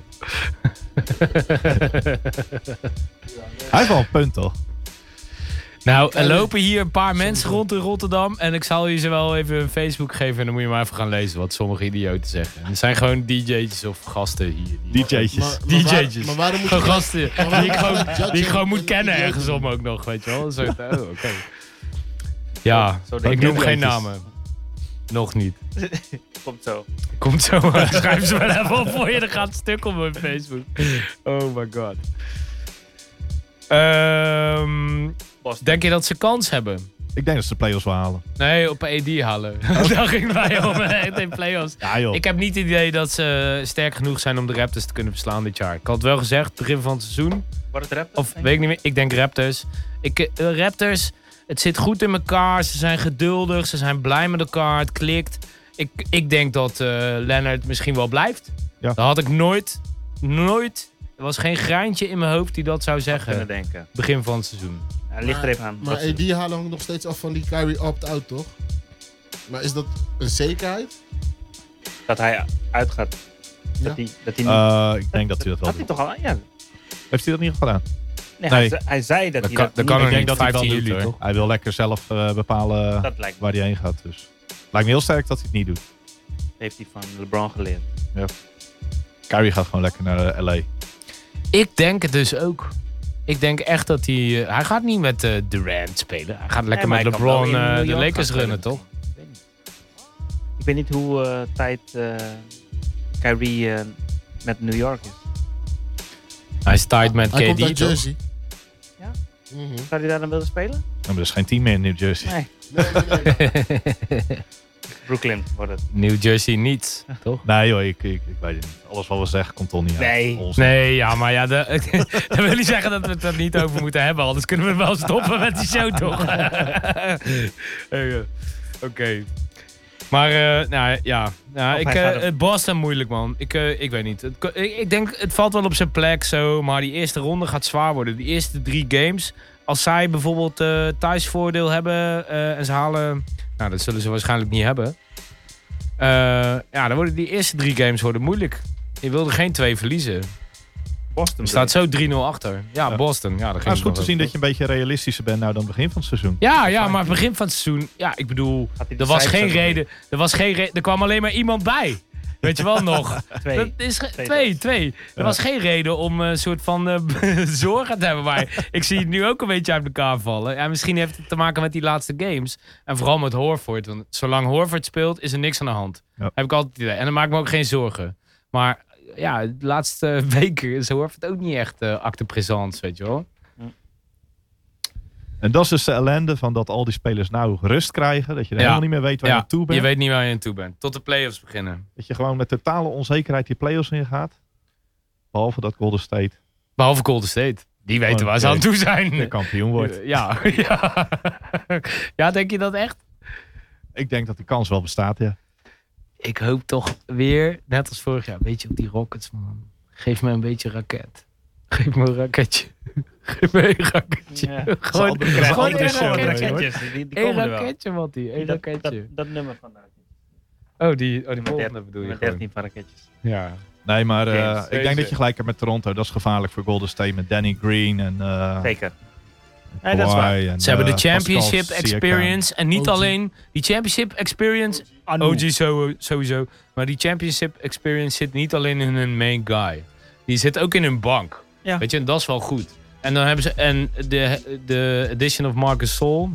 Speaker 4: Hij heeft wel een punt toch?
Speaker 5: Nou, er lopen hier een paar mensen rond in Rotterdam. En ik zal je ze wel even een Facebook geven. En dan moet je maar even gaan lezen wat sommige idioten zeggen. En het zijn gewoon DJ's of gasten hier. Die
Speaker 4: DJ'tjes.
Speaker 6: Maar waar-
Speaker 5: DJ'tjes.
Speaker 6: maar waarom moet je
Speaker 5: Gewoon
Speaker 6: dat-
Speaker 5: gasten
Speaker 6: waarom
Speaker 5: die ik
Speaker 6: moet je dat
Speaker 5: gewoon,
Speaker 6: judgen
Speaker 5: die ik gewoon moet
Speaker 6: en
Speaker 5: kennen
Speaker 6: idioten?
Speaker 5: ergens om ook nog, weet je wel. Zo, oh, oké. Ja,
Speaker 7: Zo denk
Speaker 5: ik noem geen
Speaker 4: idiootjes.
Speaker 5: namen. Nog niet.
Speaker 7: Komt zo.
Speaker 5: Komt zo, maar schrijf ze maar even op voor je. Er gaat een stuk op mijn Facebook. Oh my god. Ehm,
Speaker 7: Boston.
Speaker 5: denk je dat ze kans hebben?
Speaker 4: Ik denk dat ze de play-offs wel halen.
Speaker 5: Nee, op AD halen. Daar ging het mij om. Echt in playoffs.
Speaker 4: Ja joh.
Speaker 5: Ik heb niet het idee dat ze sterk genoeg zijn om de Raptors te kunnen verslaan dit jaar. Ik had het wel gezegd, begin van het seizoen.
Speaker 7: Wordt het rap?
Speaker 5: Of weet ik niet meer. Ik denk Raptors. Ik, eh, Raptors, het zit goed in elkaar. Ze zijn geduldig. Ze zijn blij met elkaar. Het klikt. Ik, ik denk dat eh Leonard misschien wel blijft.
Speaker 4: Ja.
Speaker 5: Dat had ik nooit, nooit. Er was geen graantje in mijn hoofd die dat zou
Speaker 7: kunnen
Speaker 5: zeggen.
Speaker 7: denken.
Speaker 5: Begin van het seizoen.
Speaker 7: Ja, ligt er even aan.
Speaker 6: Maar
Speaker 7: Wat
Speaker 6: AD
Speaker 7: ze-
Speaker 6: halen hangt nog steeds af van die Kyrie opt-out, toch? Maar is dat een zekerheid?
Speaker 7: dat hij uitgaat.
Speaker 6: Ja.
Speaker 7: Dat hij, dat hij niet...
Speaker 4: Eh, ik denk dat hij dat wel
Speaker 7: had hij
Speaker 4: doet.
Speaker 7: toch al... Ja. Nee,
Speaker 4: Heeft hij dat niet gedaan?
Speaker 7: Hij,
Speaker 4: Nee.
Speaker 7: ze- hij zei dat,
Speaker 5: Dat
Speaker 7: hij
Speaker 5: kan-
Speaker 7: dat
Speaker 5: dat
Speaker 7: niet
Speaker 5: kan
Speaker 7: deed.
Speaker 5: er niet.
Speaker 4: hij het
Speaker 5: 15
Speaker 4: doet,
Speaker 5: juli,
Speaker 4: hoor. Hij wil lekker zelf eh, bepalen
Speaker 7: Dat lijkt me.
Speaker 4: waar hij heen gaat. Dus lijkt me heel sterk dat hij het niet doet.
Speaker 7: Heeft hij van LeBron geleerd.
Speaker 4: Kyrie gaat gewoon lekker naar eh, LA.
Speaker 5: Ik denk het dus ook. Ik denk echt dat hij... eh, hij gaat niet met eh, Durant spelen. Hij gaat lekker
Speaker 7: Nee, maar
Speaker 5: met
Speaker 7: hij kan wel
Speaker 5: LeBron
Speaker 7: in
Speaker 5: eh,
Speaker 7: New
Speaker 5: de
Speaker 7: York
Speaker 5: Lakers
Speaker 7: gaan
Speaker 5: runnen,
Speaker 7: spelen.
Speaker 5: toch?
Speaker 7: Ik weet niet. Ik weet niet hoe eh, tijd eh, Kyrie eh, met New York is.
Speaker 5: Hij is tied met
Speaker 6: Hij komt
Speaker 5: KD,
Speaker 6: uit
Speaker 5: toch?
Speaker 6: Jersey.
Speaker 7: Ja?
Speaker 6: Mhm.
Speaker 7: Zou hij daar dan willen spelen?
Speaker 4: Nou, maar er is geen team meer in New Jersey. Nee,
Speaker 7: Nee.
Speaker 6: Nee, nee, nee.
Speaker 7: Brooklyn wordt het.
Speaker 5: New Jersey niet, toch?
Speaker 4: joh, ik, ik, ik weet het niet. Alles wat we zeggen komt toch niet
Speaker 7: Nee.
Speaker 4: uit. Ons-
Speaker 5: Nee, ja, maar ja, de- dat wil niet zeggen dat we het er niet over moeten hebben. Anders kunnen we wel stoppen met die show, toch? Eh, Oké. Maar, eh, nou ja, nou,
Speaker 7: Of
Speaker 5: ik,
Speaker 7: hij gaat
Speaker 5: eh,
Speaker 7: er-
Speaker 5: het Boston moeilijk, man. Ik, eh, ik weet niet. Het, ko- ik, ik denk, het valt wel op zijn plek zo, maar die eerste ronde gaat zwaar worden. Die eerste drie games, als zij bijvoorbeeld eh thuisvoordeel hebben eh, en ze halen... Nou, dat zullen ze waarschijnlijk niet hebben. Eh, ja, dan worden die eerste drie games worden moeilijk. Je wilde geen twee verliezen.
Speaker 7: Boston.
Speaker 5: Er staat zo 3-0 achter. Ja,
Speaker 4: Ja.
Speaker 5: Boston. Ja, dat
Speaker 4: Maar
Speaker 5: ging
Speaker 4: het is goed te
Speaker 5: nog
Speaker 4: zien
Speaker 5: wel.
Speaker 4: dat je een beetje realistischer bent nou dan begin van het seizoen.
Speaker 5: Ja, ja, maar begin van het seizoen. Ja, ik bedoel,
Speaker 7: Had hij de
Speaker 5: er was
Speaker 7: cijfers
Speaker 5: geen
Speaker 7: ook nog
Speaker 5: reden. Er was geen re- Er kwam alleen maar iemand bij. Weet je wel nog?
Speaker 7: Twee.
Speaker 5: Dat is ge-
Speaker 7: Twee
Speaker 5: twee,
Speaker 7: zelfs.
Speaker 5: twee. Er was geen reden om eh, een soort van eh, zorgen te hebben. Maar ik zie het nu ook een beetje uit elkaar vallen. En misschien heeft het te maken met die laatste games. En vooral met Horford. Want zolang Horford speelt, is er niks aan de hand.
Speaker 4: Ja.
Speaker 5: Heb ik altijd het idee. En dan maak ik me ook geen zorgen. Maar ja, de laatste weken is Horford ook niet echt eh acte présence, weet je wel.
Speaker 4: En dat is dus de ellende van dat al die spelers nou rust krijgen. Dat je er
Speaker 5: Ja.
Speaker 4: helemaal niet meer weet waar je
Speaker 5: ja,
Speaker 4: naartoe bent.
Speaker 5: je weet niet waar je aan toe bent. Tot de playoffs beginnen.
Speaker 4: Dat je gewoon met totale onzekerheid die play-offs ingaat. Behalve dat Golden State
Speaker 5: Behalve Golden State. Die weten
Speaker 4: Oh,
Speaker 5: waar ze
Speaker 4: oké.
Speaker 5: aan toe zijn.
Speaker 4: de kampioen wordt.
Speaker 5: Ja, ja. ja, denk je dat echt?
Speaker 4: Ik denk dat die kans wel bestaat, ja.
Speaker 5: Ik hoop toch weer, net als vorig jaar, weet je, op die Rockets, man. Geef me een beetje raket. Geef me een raketje. Geef me een raketje.
Speaker 7: Ja.
Speaker 5: Gewoon,
Speaker 4: Ze krijgen
Speaker 5: gewoon
Speaker 4: andere
Speaker 5: een
Speaker 4: show,
Speaker 5: raketje.
Speaker 4: hè, hoor.
Speaker 7: Die, die
Speaker 5: Eén
Speaker 7: komen er wel.
Speaker 5: raketje, Mattie. Eén
Speaker 7: Dat, dat,
Speaker 5: raketje.
Speaker 7: dat nummer van de raketjes.
Speaker 5: Oh, die, oh, die
Speaker 7: Nummer
Speaker 5: volgende
Speaker 7: 13,
Speaker 5: bedoel je
Speaker 7: nummer
Speaker 5: gewoon.
Speaker 7: 13 van raketjes.
Speaker 5: Ja.
Speaker 4: Nee, maar eh,
Speaker 5: Eens,
Speaker 4: ik
Speaker 5: deze.
Speaker 4: denk dat je gelijk hebt met Toronto. Dat is gevaarlijk voor Golden State met Danny Green en eh
Speaker 7: Zeker. Nee, dat is waar.
Speaker 4: Kawhi en,
Speaker 5: Ze hebben de
Speaker 4: eh,
Speaker 5: championship
Speaker 4: Pascal Siakam.
Speaker 5: experience. En niet
Speaker 6: OG.
Speaker 5: alleen die championship experience. OG zo- sowieso. Maar die championship experience zit niet alleen in hun main guy. Die zit ook in hun bank.
Speaker 7: Ja.
Speaker 5: Weet je, en dat is wel goed. En dan hebben ze. En de, de addition of Marcus Sol.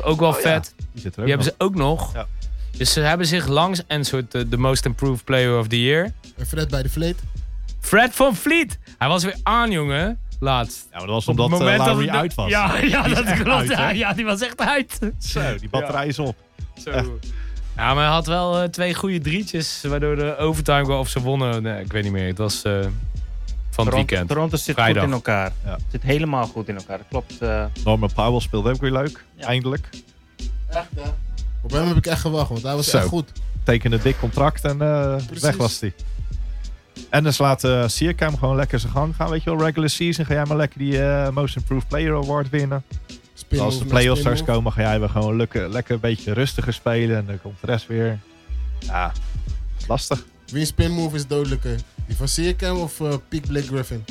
Speaker 5: Ook wel vet.
Speaker 4: Die zit er Oh, ook
Speaker 5: Die hebben
Speaker 4: nog.
Speaker 5: ze ook nog.
Speaker 4: Ja.
Speaker 5: Dus ze hebben zich langs en soort eh, de most improved player of the year.
Speaker 6: En Fred bij de vleet.
Speaker 5: Fred van Vliet. Hij was weer aan, jongen. Laatst.
Speaker 4: Ja, maar dat
Speaker 5: Op
Speaker 4: was omdat
Speaker 5: het
Speaker 4: eh,
Speaker 5: moment dat
Speaker 4: Lowry
Speaker 5: het-
Speaker 4: uit was.
Speaker 5: Ja, ja dat
Speaker 4: echt
Speaker 5: klopt.
Speaker 4: uit,
Speaker 5: ja,
Speaker 4: hè?
Speaker 5: ja, die was echt uit.
Speaker 4: Zo, die batterij is op.
Speaker 5: Zo. Ja, maar hij had wel eh, twee goede drietjes, waardoor de overtime goal of ze wonnen. Nee, ik weet niet meer. Het was eh, van het
Speaker 7: Toronto,
Speaker 5: weekend.
Speaker 7: Toronto zit
Speaker 5: Vrijdag.
Speaker 7: goed in elkaar.
Speaker 4: Ja.
Speaker 7: Zit helemaal goed in elkaar. Dat klopt. eh,
Speaker 4: Norman Powell speelde ook weer leuk.
Speaker 7: Ja.
Speaker 4: Eindelijk.
Speaker 6: Echt, hè? Op hem heb ik echt gewacht, want hij was
Speaker 4: Zo.
Speaker 6: echt goed.
Speaker 4: Tekende dik contract en eh,
Speaker 6: Precies.
Speaker 4: weg was hij. En dus laat eh Siakam gewoon lekker zijn gang gaan. Weet je wel, regular season ga jij maar lekker die eh, Most Improved Player Award winnen.
Speaker 6: Spin-off
Speaker 4: Als de
Speaker 6: na
Speaker 4: play-offs straks
Speaker 6: spin-off.
Speaker 4: komen, ga jij weer gewoon lekker, lekker een beetje rustiger spelen. En dan komt de rest weer. Ja, lastig.
Speaker 6: Wiens spinmove is dodelijker? Die van Sierkam of eh Peak Blake Griffin?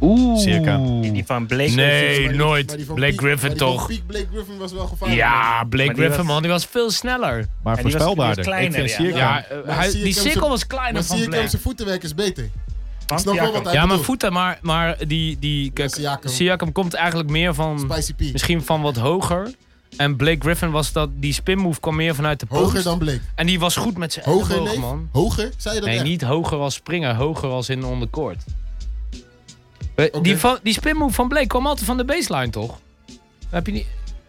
Speaker 5: Oeh.
Speaker 4: Circa.
Speaker 7: Die, die van Blake.
Speaker 5: Nee.
Speaker 6: Maar die-
Speaker 5: nooit.
Speaker 6: maar die van
Speaker 5: Blake
Speaker 6: Peak-
Speaker 5: Griffin
Speaker 6: maar die van
Speaker 5: toch?
Speaker 6: Peak Blake Griffin was wel gevaarlijk.
Speaker 5: Ja, Blake
Speaker 7: die
Speaker 5: Griffin,
Speaker 7: was-
Speaker 5: man. Die was veel sneller.
Speaker 4: Maar
Speaker 7: En die was- die was
Speaker 4: voorspelbaarder. Ik
Speaker 7: kleiner,
Speaker 4: vind
Speaker 7: ja.
Speaker 4: Sierka-
Speaker 5: Ja, eh,
Speaker 6: Maar
Speaker 5: hij-
Speaker 6: zie ik
Speaker 5: die
Speaker 6: hem zo-
Speaker 5: cirkel was
Speaker 6: Maar
Speaker 5: kleiner van
Speaker 6: Sierkam
Speaker 5: Blair.
Speaker 6: zijn voetwerk is beter.
Speaker 7: Van
Speaker 6: Ik snap wel wat hij
Speaker 5: Ja, maar
Speaker 6: bedoelt.
Speaker 5: voeten, maar, maar die, die kijk,
Speaker 6: Siakam.
Speaker 5: Siakam komt eigenlijk meer van,
Speaker 6: Spicy P.
Speaker 5: misschien van wat hoger. En Blake Griffin was dat, die spinmove kwam meer vanuit de
Speaker 6: Hoger
Speaker 5: post.
Speaker 6: dan Blake.
Speaker 5: En die was goed met zijn
Speaker 6: Hoger,
Speaker 5: elleboog,
Speaker 6: nee?
Speaker 5: man.
Speaker 6: Hoger? Zei je dat
Speaker 5: Nee,
Speaker 6: echt?
Speaker 5: niet hoger als springen, hoger als in onderkoord. Eh,
Speaker 6: Oké.
Speaker 5: Die, van- die spinmove van Blake kwam altijd van de baseline, toch? Heb je niet...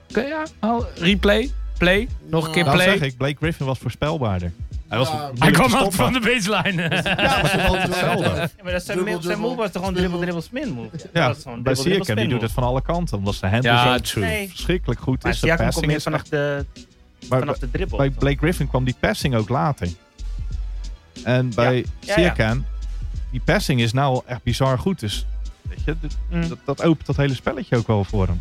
Speaker 5: Oké, ja, haal- replay, play, nog een keer
Speaker 4: Daarom
Speaker 5: play.
Speaker 4: Nou, zeg ik, Blake Griffin was voorspelbaarder. Hij was
Speaker 6: Ja,
Speaker 4: moeilijk
Speaker 5: Hij
Speaker 4: te
Speaker 5: kwam altijd
Speaker 4: stoppen.
Speaker 5: van de baseline.
Speaker 4: Ja, maar het is hetzelfde.
Speaker 7: Ja, maar dat zijn,
Speaker 6: Dubbel,
Speaker 7: move- zijn
Speaker 6: dubbel,
Speaker 7: move was toch gewoon
Speaker 6: spinmove.
Speaker 7: dribbel, dribbel, spin move?
Speaker 4: Ja,
Speaker 7: dat is gewoon dribbel,
Speaker 4: bij
Speaker 7: dribbel,
Speaker 4: Siakam, die
Speaker 7: spin
Speaker 4: doet
Speaker 7: move.
Speaker 4: het van alle kanten. Omdat zijn handle
Speaker 5: Ja,
Speaker 4: zo
Speaker 5: true.
Speaker 7: Nee.
Speaker 4: verschrikkelijk goed
Speaker 7: Maar
Speaker 4: is. Zijn
Speaker 7: Siakam komt
Speaker 4: passing
Speaker 7: meer
Speaker 4: is
Speaker 7: vanaf de,
Speaker 4: Maar
Speaker 7: vanaf de dribbel.
Speaker 4: bij Blake Griffin kwam die passing ook later. En bij
Speaker 7: ja.
Speaker 4: Siakam, die passing is nou echt bizar goed. Dus weet je, d-
Speaker 7: Mm.
Speaker 4: dat, dat opent dat hele spelletje ook wel voor hem.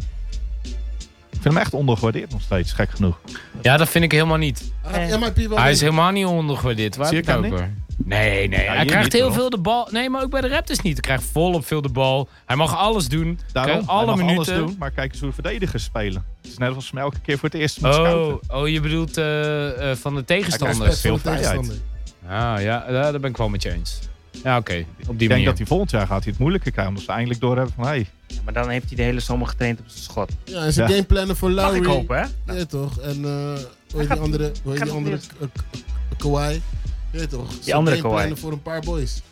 Speaker 4: Ik vind hem echt ondergewaardeerd nog steeds, gek genoeg.
Speaker 5: Ja, dat vind ik helemaal niet.
Speaker 6: Hij gaat MIP wel
Speaker 5: Eh. Hij
Speaker 6: winnen.
Speaker 5: is helemaal niet ondergewaardeerd. Waar heb je het
Speaker 4: Circa
Speaker 5: over? Nee, nee. hij
Speaker 4: hier
Speaker 5: krijgt
Speaker 4: niet,
Speaker 5: heel
Speaker 4: hoor.
Speaker 5: veel de bal. Nee, maar ook bij de Raptors niet. Hij krijgt volop veel de bal. Hij mag alles doen.
Speaker 4: Daarom,
Speaker 5: krijgt
Speaker 4: hij
Speaker 5: alle
Speaker 4: mag
Speaker 5: minuten.
Speaker 4: alles doen, maar kijk eens hoe de verdedigers spelen. Het is net alsof ze hem elke keer voor het eerst moeten
Speaker 5: Oh,
Speaker 4: scouten.
Speaker 5: oh, je bedoelt eh, eh, van de tegenstanders.
Speaker 4: best
Speaker 6: Best
Speaker 4: veel
Speaker 6: van de
Speaker 4: vrijheid.
Speaker 6: tegenstander.
Speaker 5: Ah, ja, ja, daar ben ik wel met je eens. Ja, oké. Op die
Speaker 4: Ik denk
Speaker 5: manier.
Speaker 4: dat hij volgend jaar gaat hij het moeilijker krijgen. Omdat ze eindelijk doorhebben van, hé, hey,
Speaker 7: Ja, maar dan heeft hij de hele zomer getraind op zijn schot.
Speaker 6: Ja, en zijn
Speaker 4: Ja.
Speaker 6: gameplannen voor
Speaker 7: Mag
Speaker 6: Lowry.
Speaker 7: ik hopen, hè?
Speaker 6: Ja, toch? En eh hoe heet die andere? Hoe heet
Speaker 7: gaat
Speaker 6: die andere?
Speaker 7: het
Speaker 6: K- K- Kawhi. Ja, toch? Zijn
Speaker 7: andere
Speaker 6: gameplannen
Speaker 7: Kawhi.
Speaker 6: voor een paar boys.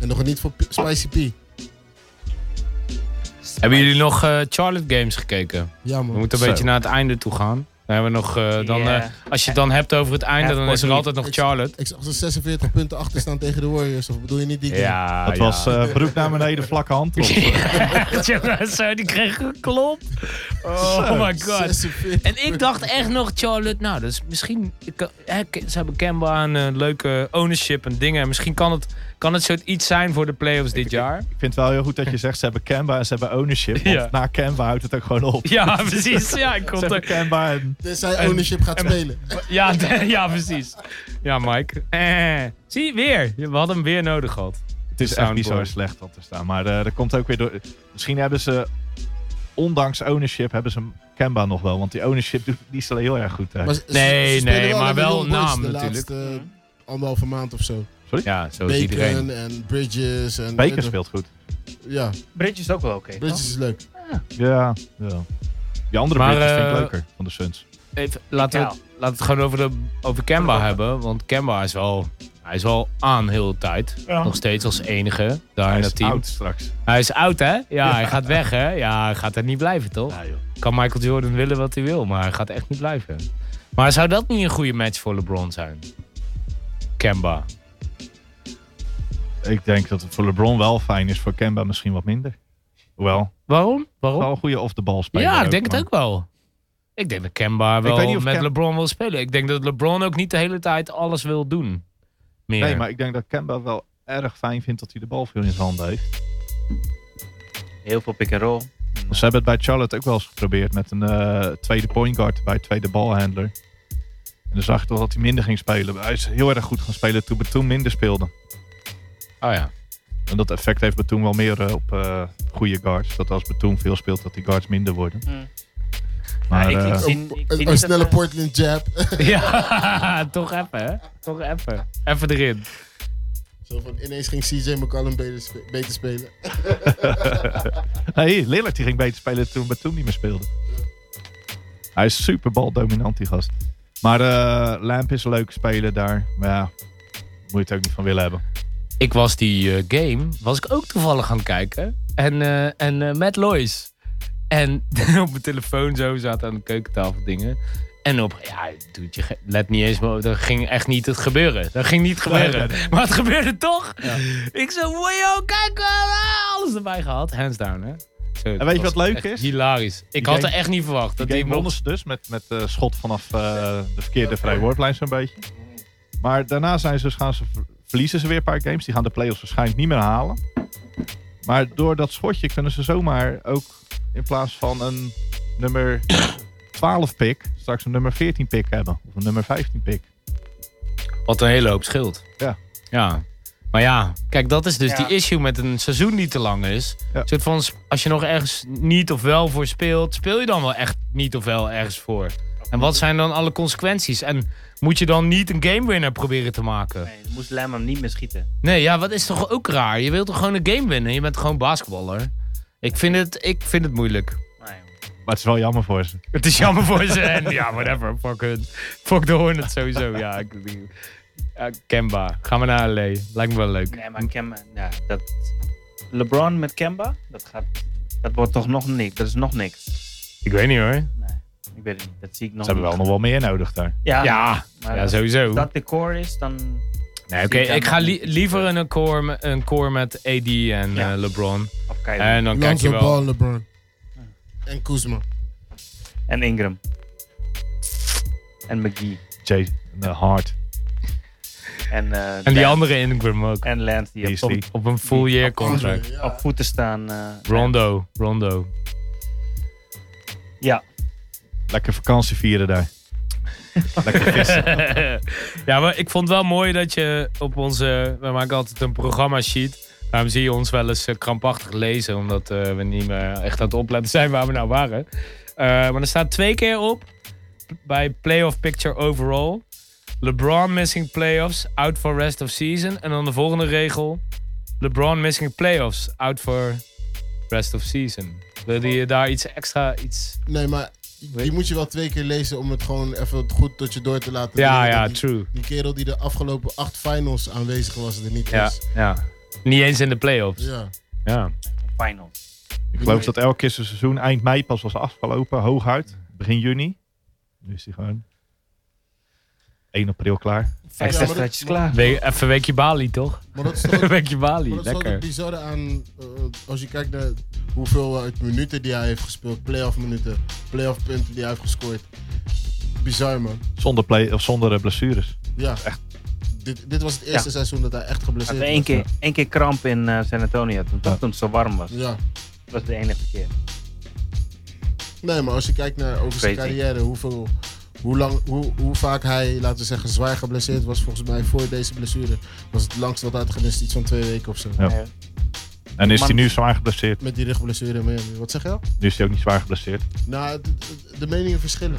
Speaker 6: En nog niet voor P- Spicy P.
Speaker 5: Hebben jullie nog eh, Charlotte Games gekeken?
Speaker 6: Ja,
Speaker 5: We
Speaker 6: man.
Speaker 5: moeten een
Speaker 4: Zo.
Speaker 5: beetje naar het einde toe gaan. Dan hebben we nog, eh, dan,
Speaker 7: Ja.
Speaker 5: eh, als je het dan hebt over het einde,
Speaker 7: Ja,
Speaker 5: dan
Speaker 7: voor
Speaker 5: is er
Speaker 7: die-
Speaker 5: altijd nog
Speaker 6: Ik-
Speaker 5: Charlotte.
Speaker 6: Ik zag ze 46 punten achter staan tegen de Warriors. Of bedoel je niet die game?
Speaker 5: Ja,
Speaker 4: dat
Speaker 5: Ah, ja.
Speaker 4: was eh, broek naar beneden, vlakke hand. eh. Of,
Speaker 5: Jongen, zo, die kreeg een klop. Oh my god.
Speaker 6: 46
Speaker 5: En ik dacht echt nog, Charlotte, nou, dus misschien... ik kan- hè, Ke- Ze hebben Kemba een eh, leuke ownership en dingen. Misschien kan het, kan het soort iets zijn voor de playoffs dit jaar.
Speaker 4: Ik vind het wel heel goed dat je zegt, ze hebben Canva en ze hebben ownership. Want
Speaker 5: Ja.
Speaker 4: na Canva houdt het ook gewoon op.
Speaker 5: Ja, precies. Ja, ik
Speaker 4: Ze
Speaker 5: kon
Speaker 4: hebben
Speaker 5: er,
Speaker 4: Canva en...
Speaker 6: Tenzij ownership gaat spelen.
Speaker 5: ja, de- ja, precies. Ja, Mike. Eh, zie, weer. We hadden hem weer nodig gehad.
Speaker 4: Het is echt
Speaker 5: Soundboard.
Speaker 4: bizar slecht wat er staan. Maar eh dat komt ook weer door... Misschien hebben ze, ondanks ownership, hebben ze Canva nog wel. Want die ownership doet- die is wel heel erg goed. uit.
Speaker 6: Maar ze- ze-
Speaker 5: Nee,
Speaker 6: ze spelen
Speaker 5: nee, maar
Speaker 6: aan
Speaker 5: wel
Speaker 6: miljoen boys
Speaker 5: naam
Speaker 6: de
Speaker 5: natuurlijk.
Speaker 6: laatste eh, anderhalve maand of zo.
Speaker 5: Ja, zo is iedereen.
Speaker 6: Bacon en Bridges. En,
Speaker 4: Baker speelt goed.
Speaker 6: Ja,
Speaker 7: Bridge is ook wel oké. toch?
Speaker 6: Bridges is leuk.
Speaker 4: Ja, ja. Die andere
Speaker 5: Maar,
Speaker 4: maar, vind ik
Speaker 5: eh,
Speaker 4: leuker van de Suns.
Speaker 5: Even, laten, we,
Speaker 7: Ja.
Speaker 5: het- laten we het gewoon over, de, over Kemba hebben. Want Kemba is wel, hij is wel aan heel de tijd.
Speaker 7: Ja.
Speaker 5: Nog steeds als enige daar in
Speaker 4: Hij is
Speaker 5: dat team.
Speaker 4: oud straks.
Speaker 5: Hij is oud, hè? Ja, hij gaat weg, hè? Ja, hij gaat er niet blijven, toch?
Speaker 4: Ja, joh.
Speaker 5: Kan Michael Jordan willen wat hij wil, maar hij gaat echt niet blijven. Maar zou dat niet een goede match voor LeBron zijn? Kemba.
Speaker 4: Ik denk dat het voor LeBron wel fijn is, voor Canva misschien wat minder. Hoewel,
Speaker 5: Waarom? Waarom?
Speaker 4: wel een goede off de bal spelen.
Speaker 5: Ja, ik denk
Speaker 4: maar-
Speaker 5: het ook wel. Ik denk dat Kemba wel
Speaker 4: weet niet of
Speaker 5: met
Speaker 4: Kem-
Speaker 5: LeBron wil spelen. Ik denk dat LeBron ook niet de hele tijd alles wil doen. Meer.
Speaker 4: Nee, maar ik denk dat Kemba wel erg fijn vindt dat hij de bal veel in zijn handen heeft.
Speaker 7: Heel veel pick and roll.
Speaker 4: Want Ze hebben het bij Charlotte ook wel eens geprobeerd met een eh, tweede point guard bij tweede balhandler. En dan zag je toch dat hij minder ging spelen. Hij is heel erg goed gaan spelen toen Batum minder speelde.
Speaker 5: Oh ja.
Speaker 4: En dat effect heeft Batum wel meer eh, op eh, goede guards. Dat als Batum veel speelt, dat die guards minder worden.
Speaker 5: Hmm.
Speaker 7: Mm.
Speaker 4: Maar
Speaker 7: Ja, ik- ik
Speaker 4: eh,
Speaker 7: zie-
Speaker 6: Een,
Speaker 7: Ik- ik
Speaker 6: een-
Speaker 7: zie
Speaker 6: een
Speaker 7: niet
Speaker 6: snelle
Speaker 7: dat, eh,
Speaker 6: Portland jab.
Speaker 5: ja, toch even, hè? Toch even. Even erin.
Speaker 6: Zo van ineens ging CJ McCollum beter, spe- beter spelen.
Speaker 4: nee, Lillard die ging beter spelen toen Batum niet meer speelde. Hij is super baldominant, die gast. Maar eh, Lamp is een leuke speler daar. Maar ja, moet je het ook niet van willen hebben.
Speaker 5: Ik was die eh, game, was ik ook toevallig gaan kijken. En, eh, en eh, met Lois. En op mijn telefoon zo zaten aan de keukentafel dingen. En op, ja, doet je, ge- let niet eens, maar op, dat ging echt niet het gebeuren. Dat ging niet gebeuren.
Speaker 4: nee,
Speaker 5: Maar het gebeurde toch. Ik zo, wow, kijk, ah, alles erbij gehad. Hands down, hè. Zo, dat
Speaker 4: weet je
Speaker 5: was
Speaker 4: wat leuk
Speaker 5: echt
Speaker 4: is?
Speaker 5: Hilarisch. Ik
Speaker 4: Die
Speaker 5: had er
Speaker 4: game-
Speaker 5: echt niet verwacht. Dat
Speaker 4: Die
Speaker 5: die
Speaker 4: game wonnen ze dus met, met eh, schot vanaf eh, de verkeerde vrijwoordlijn zo'n beetje. Maar daarna zijn ze, dus gaan ze, ver- verliezen ze weer een paar games. Die gaan de playoffs waarschijnlijk niet meer halen. Maar door dat schotje kunnen ze zomaar ook in plaats van een nummer 12 pick... straks een nummer 14 pick hebben. Of een nummer 15 pick.
Speaker 5: Wat een hele hoop scheelt.
Speaker 4: Ja.
Speaker 5: Ja. Maar ja, kijk, dat is dus
Speaker 7: Ja.
Speaker 5: die issue met een seizoen die te lang is.
Speaker 4: Ja.
Speaker 5: Een soort van, s- als je nog ergens niet of wel voor speelt, speel je dan wel echt niet of wel ergens voor? En wat zijn dan alle consequenties? En moet je dan niet een game winner proberen te maken?
Speaker 7: Nee, dan moest Lam hem niet meer schieten.
Speaker 5: Nee, ja, wat is toch ook raar? Je wilt toch gewoon een game winnen? Je bent gewoon basketballer. Ik vind het, ik vind het moeilijk.
Speaker 7: Nee,
Speaker 4: Maar het is wel jammer voor ze.
Speaker 5: Het is jammer voor ze. En ja, whatever. Fuck hun. Fuck de Hornets sowieso. Ja, ik, ja Kemba. Ga maar naar LA. Lijkt me wel leuk.
Speaker 7: nee maar Kemba, ja, dat, LeBron met Kemba, dat gaat, dat wordt toch nog niks. Dat is nog niks.
Speaker 5: Ik weet niet hoor.
Speaker 7: Nee, ik weet het niet. Dat zie ik nog.
Speaker 4: Ze hebben wel
Speaker 7: niet.
Speaker 4: nog wel meer nodig daar.
Speaker 7: Ja,
Speaker 5: Ja,
Speaker 7: maar
Speaker 5: ja
Speaker 7: als
Speaker 5: sowieso.
Speaker 7: dat de core is, dan.
Speaker 5: Nee, Oké, ik ga li- liever een core, me- een core met AD en
Speaker 7: Ja.
Speaker 5: eh, LeBron.
Speaker 7: Of Kyrie
Speaker 5: En dan kijk je
Speaker 6: Lonzo
Speaker 5: wel.
Speaker 6: Ball, LeBron. En Kuzma.
Speaker 7: en Ingram. En McGee.
Speaker 4: Jay de eh, Hart.
Speaker 7: En, eh,
Speaker 5: En die
Speaker 7: Lam-
Speaker 5: andere Ingram ook.
Speaker 7: En Lance die,
Speaker 4: Die
Speaker 7: op,
Speaker 4: is die.
Speaker 5: Op een full year
Speaker 6: Andre,
Speaker 5: contract.
Speaker 6: ja.
Speaker 7: op voeten staan. eh,
Speaker 5: Rondo. Rondo.
Speaker 7: Ja,
Speaker 4: Lekker vakantie vieren daar. Lekker vissen.
Speaker 5: ja, maar ik vond het wel mooi dat je op onze... We maken altijd een programma-sheet. Daarom zie je ons wel eens eh, krampachtig lezen. Omdat eh, we niet meer echt aan het opletten zijn waar we nou waren. Eh, maar er staat twee keer op. Bij Playoff Picture Overall. LeBron missing playoffs. Out for rest of season. En dan de volgende regel. LeBron missing playoffs. Out for rest of season. Wilde je daar iets extra... Iets...
Speaker 6: Nee, maar die moet je wel twee keer lezen om het gewoon even goed tot je door te laten.
Speaker 5: Ja,
Speaker 6: dringen dat
Speaker 5: ja,
Speaker 6: die-
Speaker 5: true.
Speaker 6: Die kerel die de afgelopen acht finals aanwezig was, er niet
Speaker 5: Ja,
Speaker 6: is.
Speaker 5: ja. Dus Niet eens in de playoffs.
Speaker 6: Ja.
Speaker 5: Ja.
Speaker 7: final.
Speaker 4: Ik geloof dat elk keer zijn seizoen eind mei pas was afgelopen. Hooguit. Begin juni. Nu is hij gewoon 1 april klaar.
Speaker 6: Ja, maar
Speaker 7: 50
Speaker 6: dat-
Speaker 7: zetjes klaar.
Speaker 5: We, even weekje Bali, toch?
Speaker 6: Maar dat is toch ook-
Speaker 5: weekje Bali,
Speaker 6: Maar dat is wel het
Speaker 5: lekker.
Speaker 6: bizarre aan, eh, als je kijkt naar hoeveel uit minuten die hij heeft gespeeld, playoff minuten, playoff punten die hij heeft gescoord. Bizar man.
Speaker 4: Zonder, play, of zonder eh, blessures.
Speaker 6: Ja. Echt. Dit, dit was het eerste seizoen dat hij echt
Speaker 7: Had
Speaker 6: geblesseerd
Speaker 7: één
Speaker 6: was.
Speaker 7: keer, één keer kramp in eh, San Antonio toen, toch?
Speaker 4: Ja.
Speaker 7: toen het zo warm was.
Speaker 6: Ja.
Speaker 7: Dat was de enige keer.
Speaker 6: Nee, maar als je kijkt naar over zijn
Speaker 7: Crazy.
Speaker 6: carrière, hoeveel, hoe, lang, hoe, hoe vaak hij, laten we zeggen, zwaar geblesseerd was, volgens mij voor deze blessure, was het langst wat uitgenist iets van twee weken of zo.
Speaker 4: Ja.
Speaker 7: Eh,
Speaker 4: En is
Speaker 7: Man.
Speaker 4: hij nu zwaar geblesseerd?
Speaker 6: Met die rugblessure in Miami. Wat zeg je al?
Speaker 4: Nu is hij ook niet zwaar geblesseerd.
Speaker 6: Nou, de, de meningen verschillen.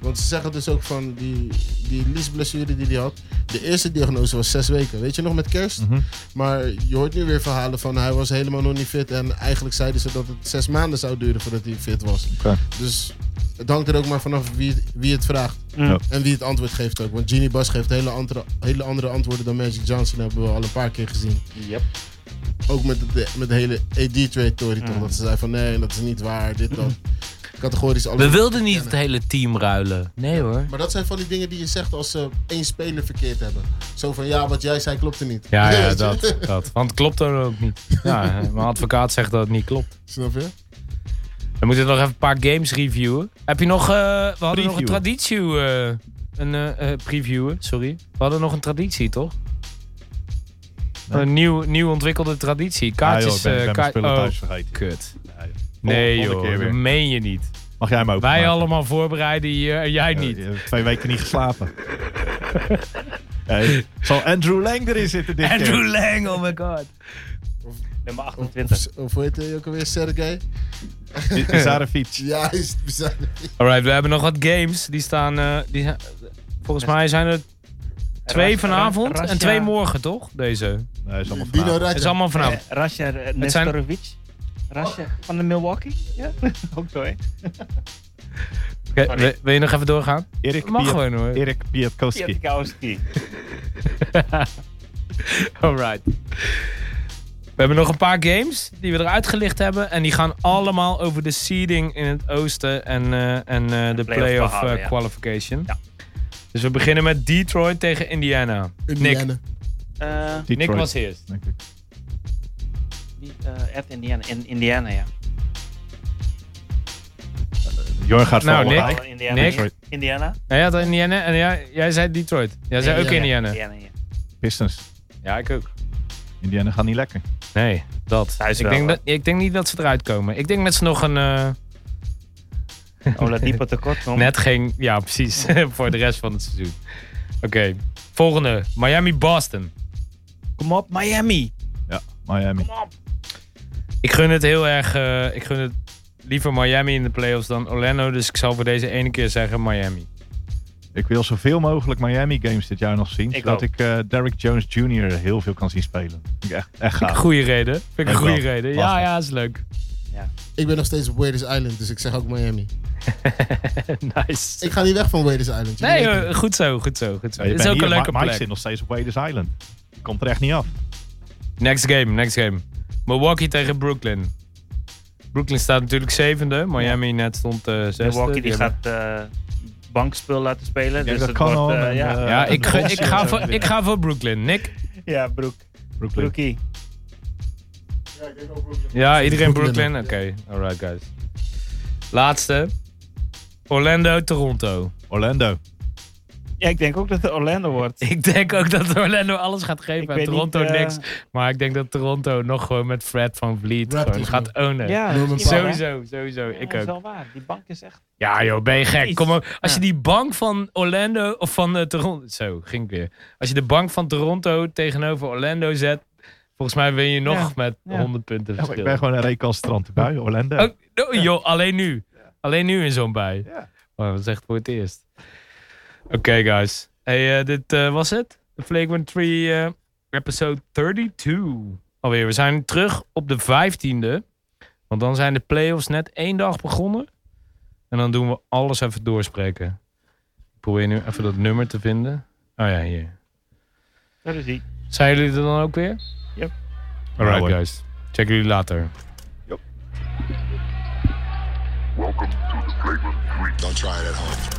Speaker 6: Want ze zeggen dus ook van die, die liesblessure die hij had. De eerste diagnose was zes weken. Weet je nog met kerst?
Speaker 4: Mhm.
Speaker 6: Maar je hoort nu weer verhalen van hij was helemaal nog niet fit. En eigenlijk zeiden ze dat het zes maanden zou duren voordat hij fit was.
Speaker 4: Oké.
Speaker 6: Dus het hangt er ook maar vanaf wie, het- wie het vraagt.
Speaker 4: Ja.
Speaker 6: En wie het antwoord geeft ook. Want Genie Bas geeft hele andere, hele andere antwoorden dan Magic Johnson. Dat hebben we al een paar keer gezien.
Speaker 7: Yep.
Speaker 6: Ook met de, met de hele AD-trade-tory
Speaker 4: Mm.
Speaker 6: toch. Dat ze zei van nee, dat is niet waar. Dit, dat. Categorisch alles.
Speaker 5: We wilden niet het hele team ruilen. Nee hoor.
Speaker 6: Maar dat zijn van die dingen die je zegt als ze één speler verkeerd hebben. Zo van ja, wat jij zei klopte niet.
Speaker 5: Ja, ja,
Speaker 6: Weet je?
Speaker 5: dat, dat. Want het klopt er ook niet. Ja, mijn advocaat zegt dat het niet klopt.
Speaker 6: Snap je?
Speaker 5: We moeten nog even een paar games reviewen. Heb je nog... eh, we hadden nog een
Speaker 4: Previewen.
Speaker 5: traditie... eh, een eh, eh, previewen, sorry. We hadden nog een traditie, toch?
Speaker 4: Nee.
Speaker 5: Een nieuw, nieuw ontwikkelde traditie. Kaartjes...
Speaker 4: ah, joh, ik ben,
Speaker 5: eh,
Speaker 4: ik ben mijn
Speaker 5: kaart-
Speaker 4: spullen
Speaker 5: oh,
Speaker 4: thuis vergeten.
Speaker 5: kut.
Speaker 4: Nee,
Speaker 5: Nee
Speaker 4: volgende
Speaker 5: joh,
Speaker 4: keer
Speaker 5: dat
Speaker 4: weer.
Speaker 5: meen je niet.
Speaker 4: Mag jij hem ook?
Speaker 5: Wij allemaal voorbereiden hier en jij niet.
Speaker 4: eh, twee weken niet geslapen. Hey, zal Andrew Lang erin zitten dit keer?
Speaker 5: Andrew Lang, oh my god.
Speaker 7: Nummer
Speaker 6: Of,
Speaker 7: 28.
Speaker 6: of- of hoe heet hij ook alweer? Sergey?
Speaker 4: Is- Is daar een fiets?
Speaker 6: Ja, is het bizar.
Speaker 5: Alright, we hebben nog wat games. Die staan. eh, die, zijn- volgens mij zijn er twee
Speaker 7: Ras-
Speaker 5: vanavond
Speaker 7: Ras-
Speaker 5: en twee
Speaker 7: Rasja-
Speaker 5: morgen, toch? Deze.
Speaker 4: Nee, is allemaal
Speaker 6: Dino
Speaker 4: vanavond.
Speaker 5: Het is
Speaker 6: Raja.
Speaker 5: allemaal vanavond.
Speaker 7: Eh, Rasja eh,
Speaker 5: zijn-
Speaker 7: Nestorovic. Rasja van de Milwaukee. Ja, ook zo hè.
Speaker 5: Oké, wil, wil je nog even doorgaan?
Speaker 4: Erik,
Speaker 5: Mag
Speaker 4: Piet-
Speaker 5: gewoon hoor.
Speaker 4: Erik Pietkowski.
Speaker 7: Pietkowski.
Speaker 5: Alright. We hebben nog een paar games die we eruit gelicht hebben. En die gaan allemaal over de seeding in het oosten en, eh, en eh, de
Speaker 7: playoff
Speaker 5: playoff eh,
Speaker 7: behouden, ja.
Speaker 5: qualification.
Speaker 7: Ja.
Speaker 5: Dus we beginnen met Detroit tegen Indiana. Nick,
Speaker 6: Indiana.
Speaker 7: Eh,
Speaker 5: Nick
Speaker 4: Detroit,
Speaker 5: was eerst.
Speaker 4: denk ik.
Speaker 7: die, eh, Ed Indiana. In, Indiana, ja.
Speaker 4: Jorn gaat
Speaker 5: Nou,
Speaker 4: vallen.
Speaker 5: Nick.
Speaker 4: Hij-
Speaker 7: Alle Indiana.
Speaker 5: Nick?
Speaker 4: Detroit.
Speaker 7: Indiana.
Speaker 5: Nou ja, dat Indiana. En jij, jij zei Detroit. Jij zei ook Indiana.
Speaker 7: Indiana, ja.
Speaker 4: Pistons.
Speaker 5: Ja, ik ook.
Speaker 4: Indiana gaat niet lekker.
Speaker 5: Nee, dat.
Speaker 7: Thuis
Speaker 5: ik,
Speaker 7: wel,
Speaker 5: denk
Speaker 7: hè?
Speaker 5: dat ik denk niet dat ze eruit komen. Ik denk dat ze nog een... eh,
Speaker 7: Oladipo Oh, tekort komt.
Speaker 5: net ging... Ja, precies. voor de rest van het seizoen. Oké. Volgende. Miami-Boston.
Speaker 7: Kom op, Miami.
Speaker 4: Ja, Miami.
Speaker 5: Ik gun het heel erg. eh, ik gun het liever Miami in de playoffs dan Orlando. Dus ik zal voor deze ene keer zeggen Miami.
Speaker 4: Ik wil zoveel mogelijk Miami games dit jaar nog zien.
Speaker 7: Ik
Speaker 4: zodat
Speaker 7: ook.
Speaker 4: ik eh, Derrick Jones Jr. heel veel kan zien spelen. Vind ik Echt, echt gaaf.
Speaker 5: Goeie reden. Vind ik een
Speaker 4: Echt
Speaker 5: goede
Speaker 4: wel.
Speaker 5: reden. Ja,
Speaker 4: Lastig.
Speaker 5: ja, is leuk.
Speaker 6: Ik ben nog steeds op Waders Island, dus ik zeg ook Miami.
Speaker 5: nice.
Speaker 6: Ik ga niet weg van Waders Island. je
Speaker 5: Nee, eh,
Speaker 6: weet
Speaker 5: joh,
Speaker 6: het.
Speaker 5: goed zo, goed zo, goed zo.
Speaker 4: Ja,
Speaker 5: Het is
Speaker 4: je bent
Speaker 5: ook een
Speaker 4: hier.
Speaker 5: leuke
Speaker 4: Ma- Mike
Speaker 5: plek.
Speaker 4: zit nog steeds op Waders Island. Komt er echt niet af.
Speaker 5: Next game, next game. Milwaukee tegen Brooklyn. Brooklyn staat natuurlijk zevende. Miami net stond eh zesde.
Speaker 7: Milwaukee
Speaker 5: Die
Speaker 7: die
Speaker 5: hebben-
Speaker 7: gaat eh bankspul laten spelen.
Speaker 4: denk
Speaker 7: Dus
Speaker 4: dat
Speaker 7: het
Speaker 4: kan
Speaker 7: wordt,
Speaker 4: al,
Speaker 7: eh,
Speaker 4: en,
Speaker 7: ja.
Speaker 4: eh,
Speaker 5: Ja,
Speaker 4: de
Speaker 5: ik, gun-
Speaker 4: Boston
Speaker 5: ik, ga
Speaker 4: zo
Speaker 5: voor, ik
Speaker 4: winnen.
Speaker 5: ga voor Brooklyn. Nick?
Speaker 7: ja, Broek.
Speaker 4: Brooklyn.
Speaker 7: Broekie.
Speaker 5: Ja, iedereen Brooklyn?
Speaker 6: Brooklyn.
Speaker 5: Oké, alright guys. Laatste. Orlando, Toronto.
Speaker 4: Orlando.
Speaker 7: Ja, ik denk ook dat het Orlando wordt.
Speaker 5: Ik denk ook dat Orlando alles gaat
Speaker 7: Ik
Speaker 5: geven en
Speaker 7: weet
Speaker 5: Toronto
Speaker 7: niet, eh,
Speaker 5: niks. Maar ik denk dat Toronto nog gewoon met Fred van Vliet
Speaker 6: Raptors
Speaker 5: gewoon gaat ownen.
Speaker 7: Ja,
Speaker 6: Noem een
Speaker 7: misschien wel, hè?
Speaker 5: Sowieso, sowieso.
Speaker 7: Ja,
Speaker 5: Ik
Speaker 7: Dat is
Speaker 5: ook.
Speaker 7: wel waar. Die bank is echt...
Speaker 5: Ja joh, ben je gek. Kom op. Als je
Speaker 7: Ja.
Speaker 5: die bank van Orlando of van eh, Toronto... Zo, ging ik weer. Als je de bank van Toronto tegenover Orlando zet... Volgens mij win je nog
Speaker 7: Ja,
Speaker 5: met
Speaker 7: ja.
Speaker 5: 100 punten
Speaker 4: Ja, maar
Speaker 5: verschil.
Speaker 4: ik ben gewoon een recalcitrante bui. Orlando.
Speaker 5: Ook- oh, joh, alleen nu. Alleen nu in zo'n bui.
Speaker 4: Ja.
Speaker 5: Oh, dat is echt voor het eerst. Oké, guys. Hey, eh, dit eh, was het. De Flake One 3 eh, episode 32. Alweer, we zijn terug op de 15e. Want dan zijn de playoffs net één dag begonnen. En dan doen we alles even doorspreken. Ik probeer nu even dat nummer te vinden. Oh ja, hier.
Speaker 7: Dat is die.
Speaker 5: Zijn jullie er dan ook weer?
Speaker 7: Yep.
Speaker 5: Alright,
Speaker 4: Ja, Nou, hoor.
Speaker 5: guys. Check jullie later.
Speaker 1: Don't try it at home.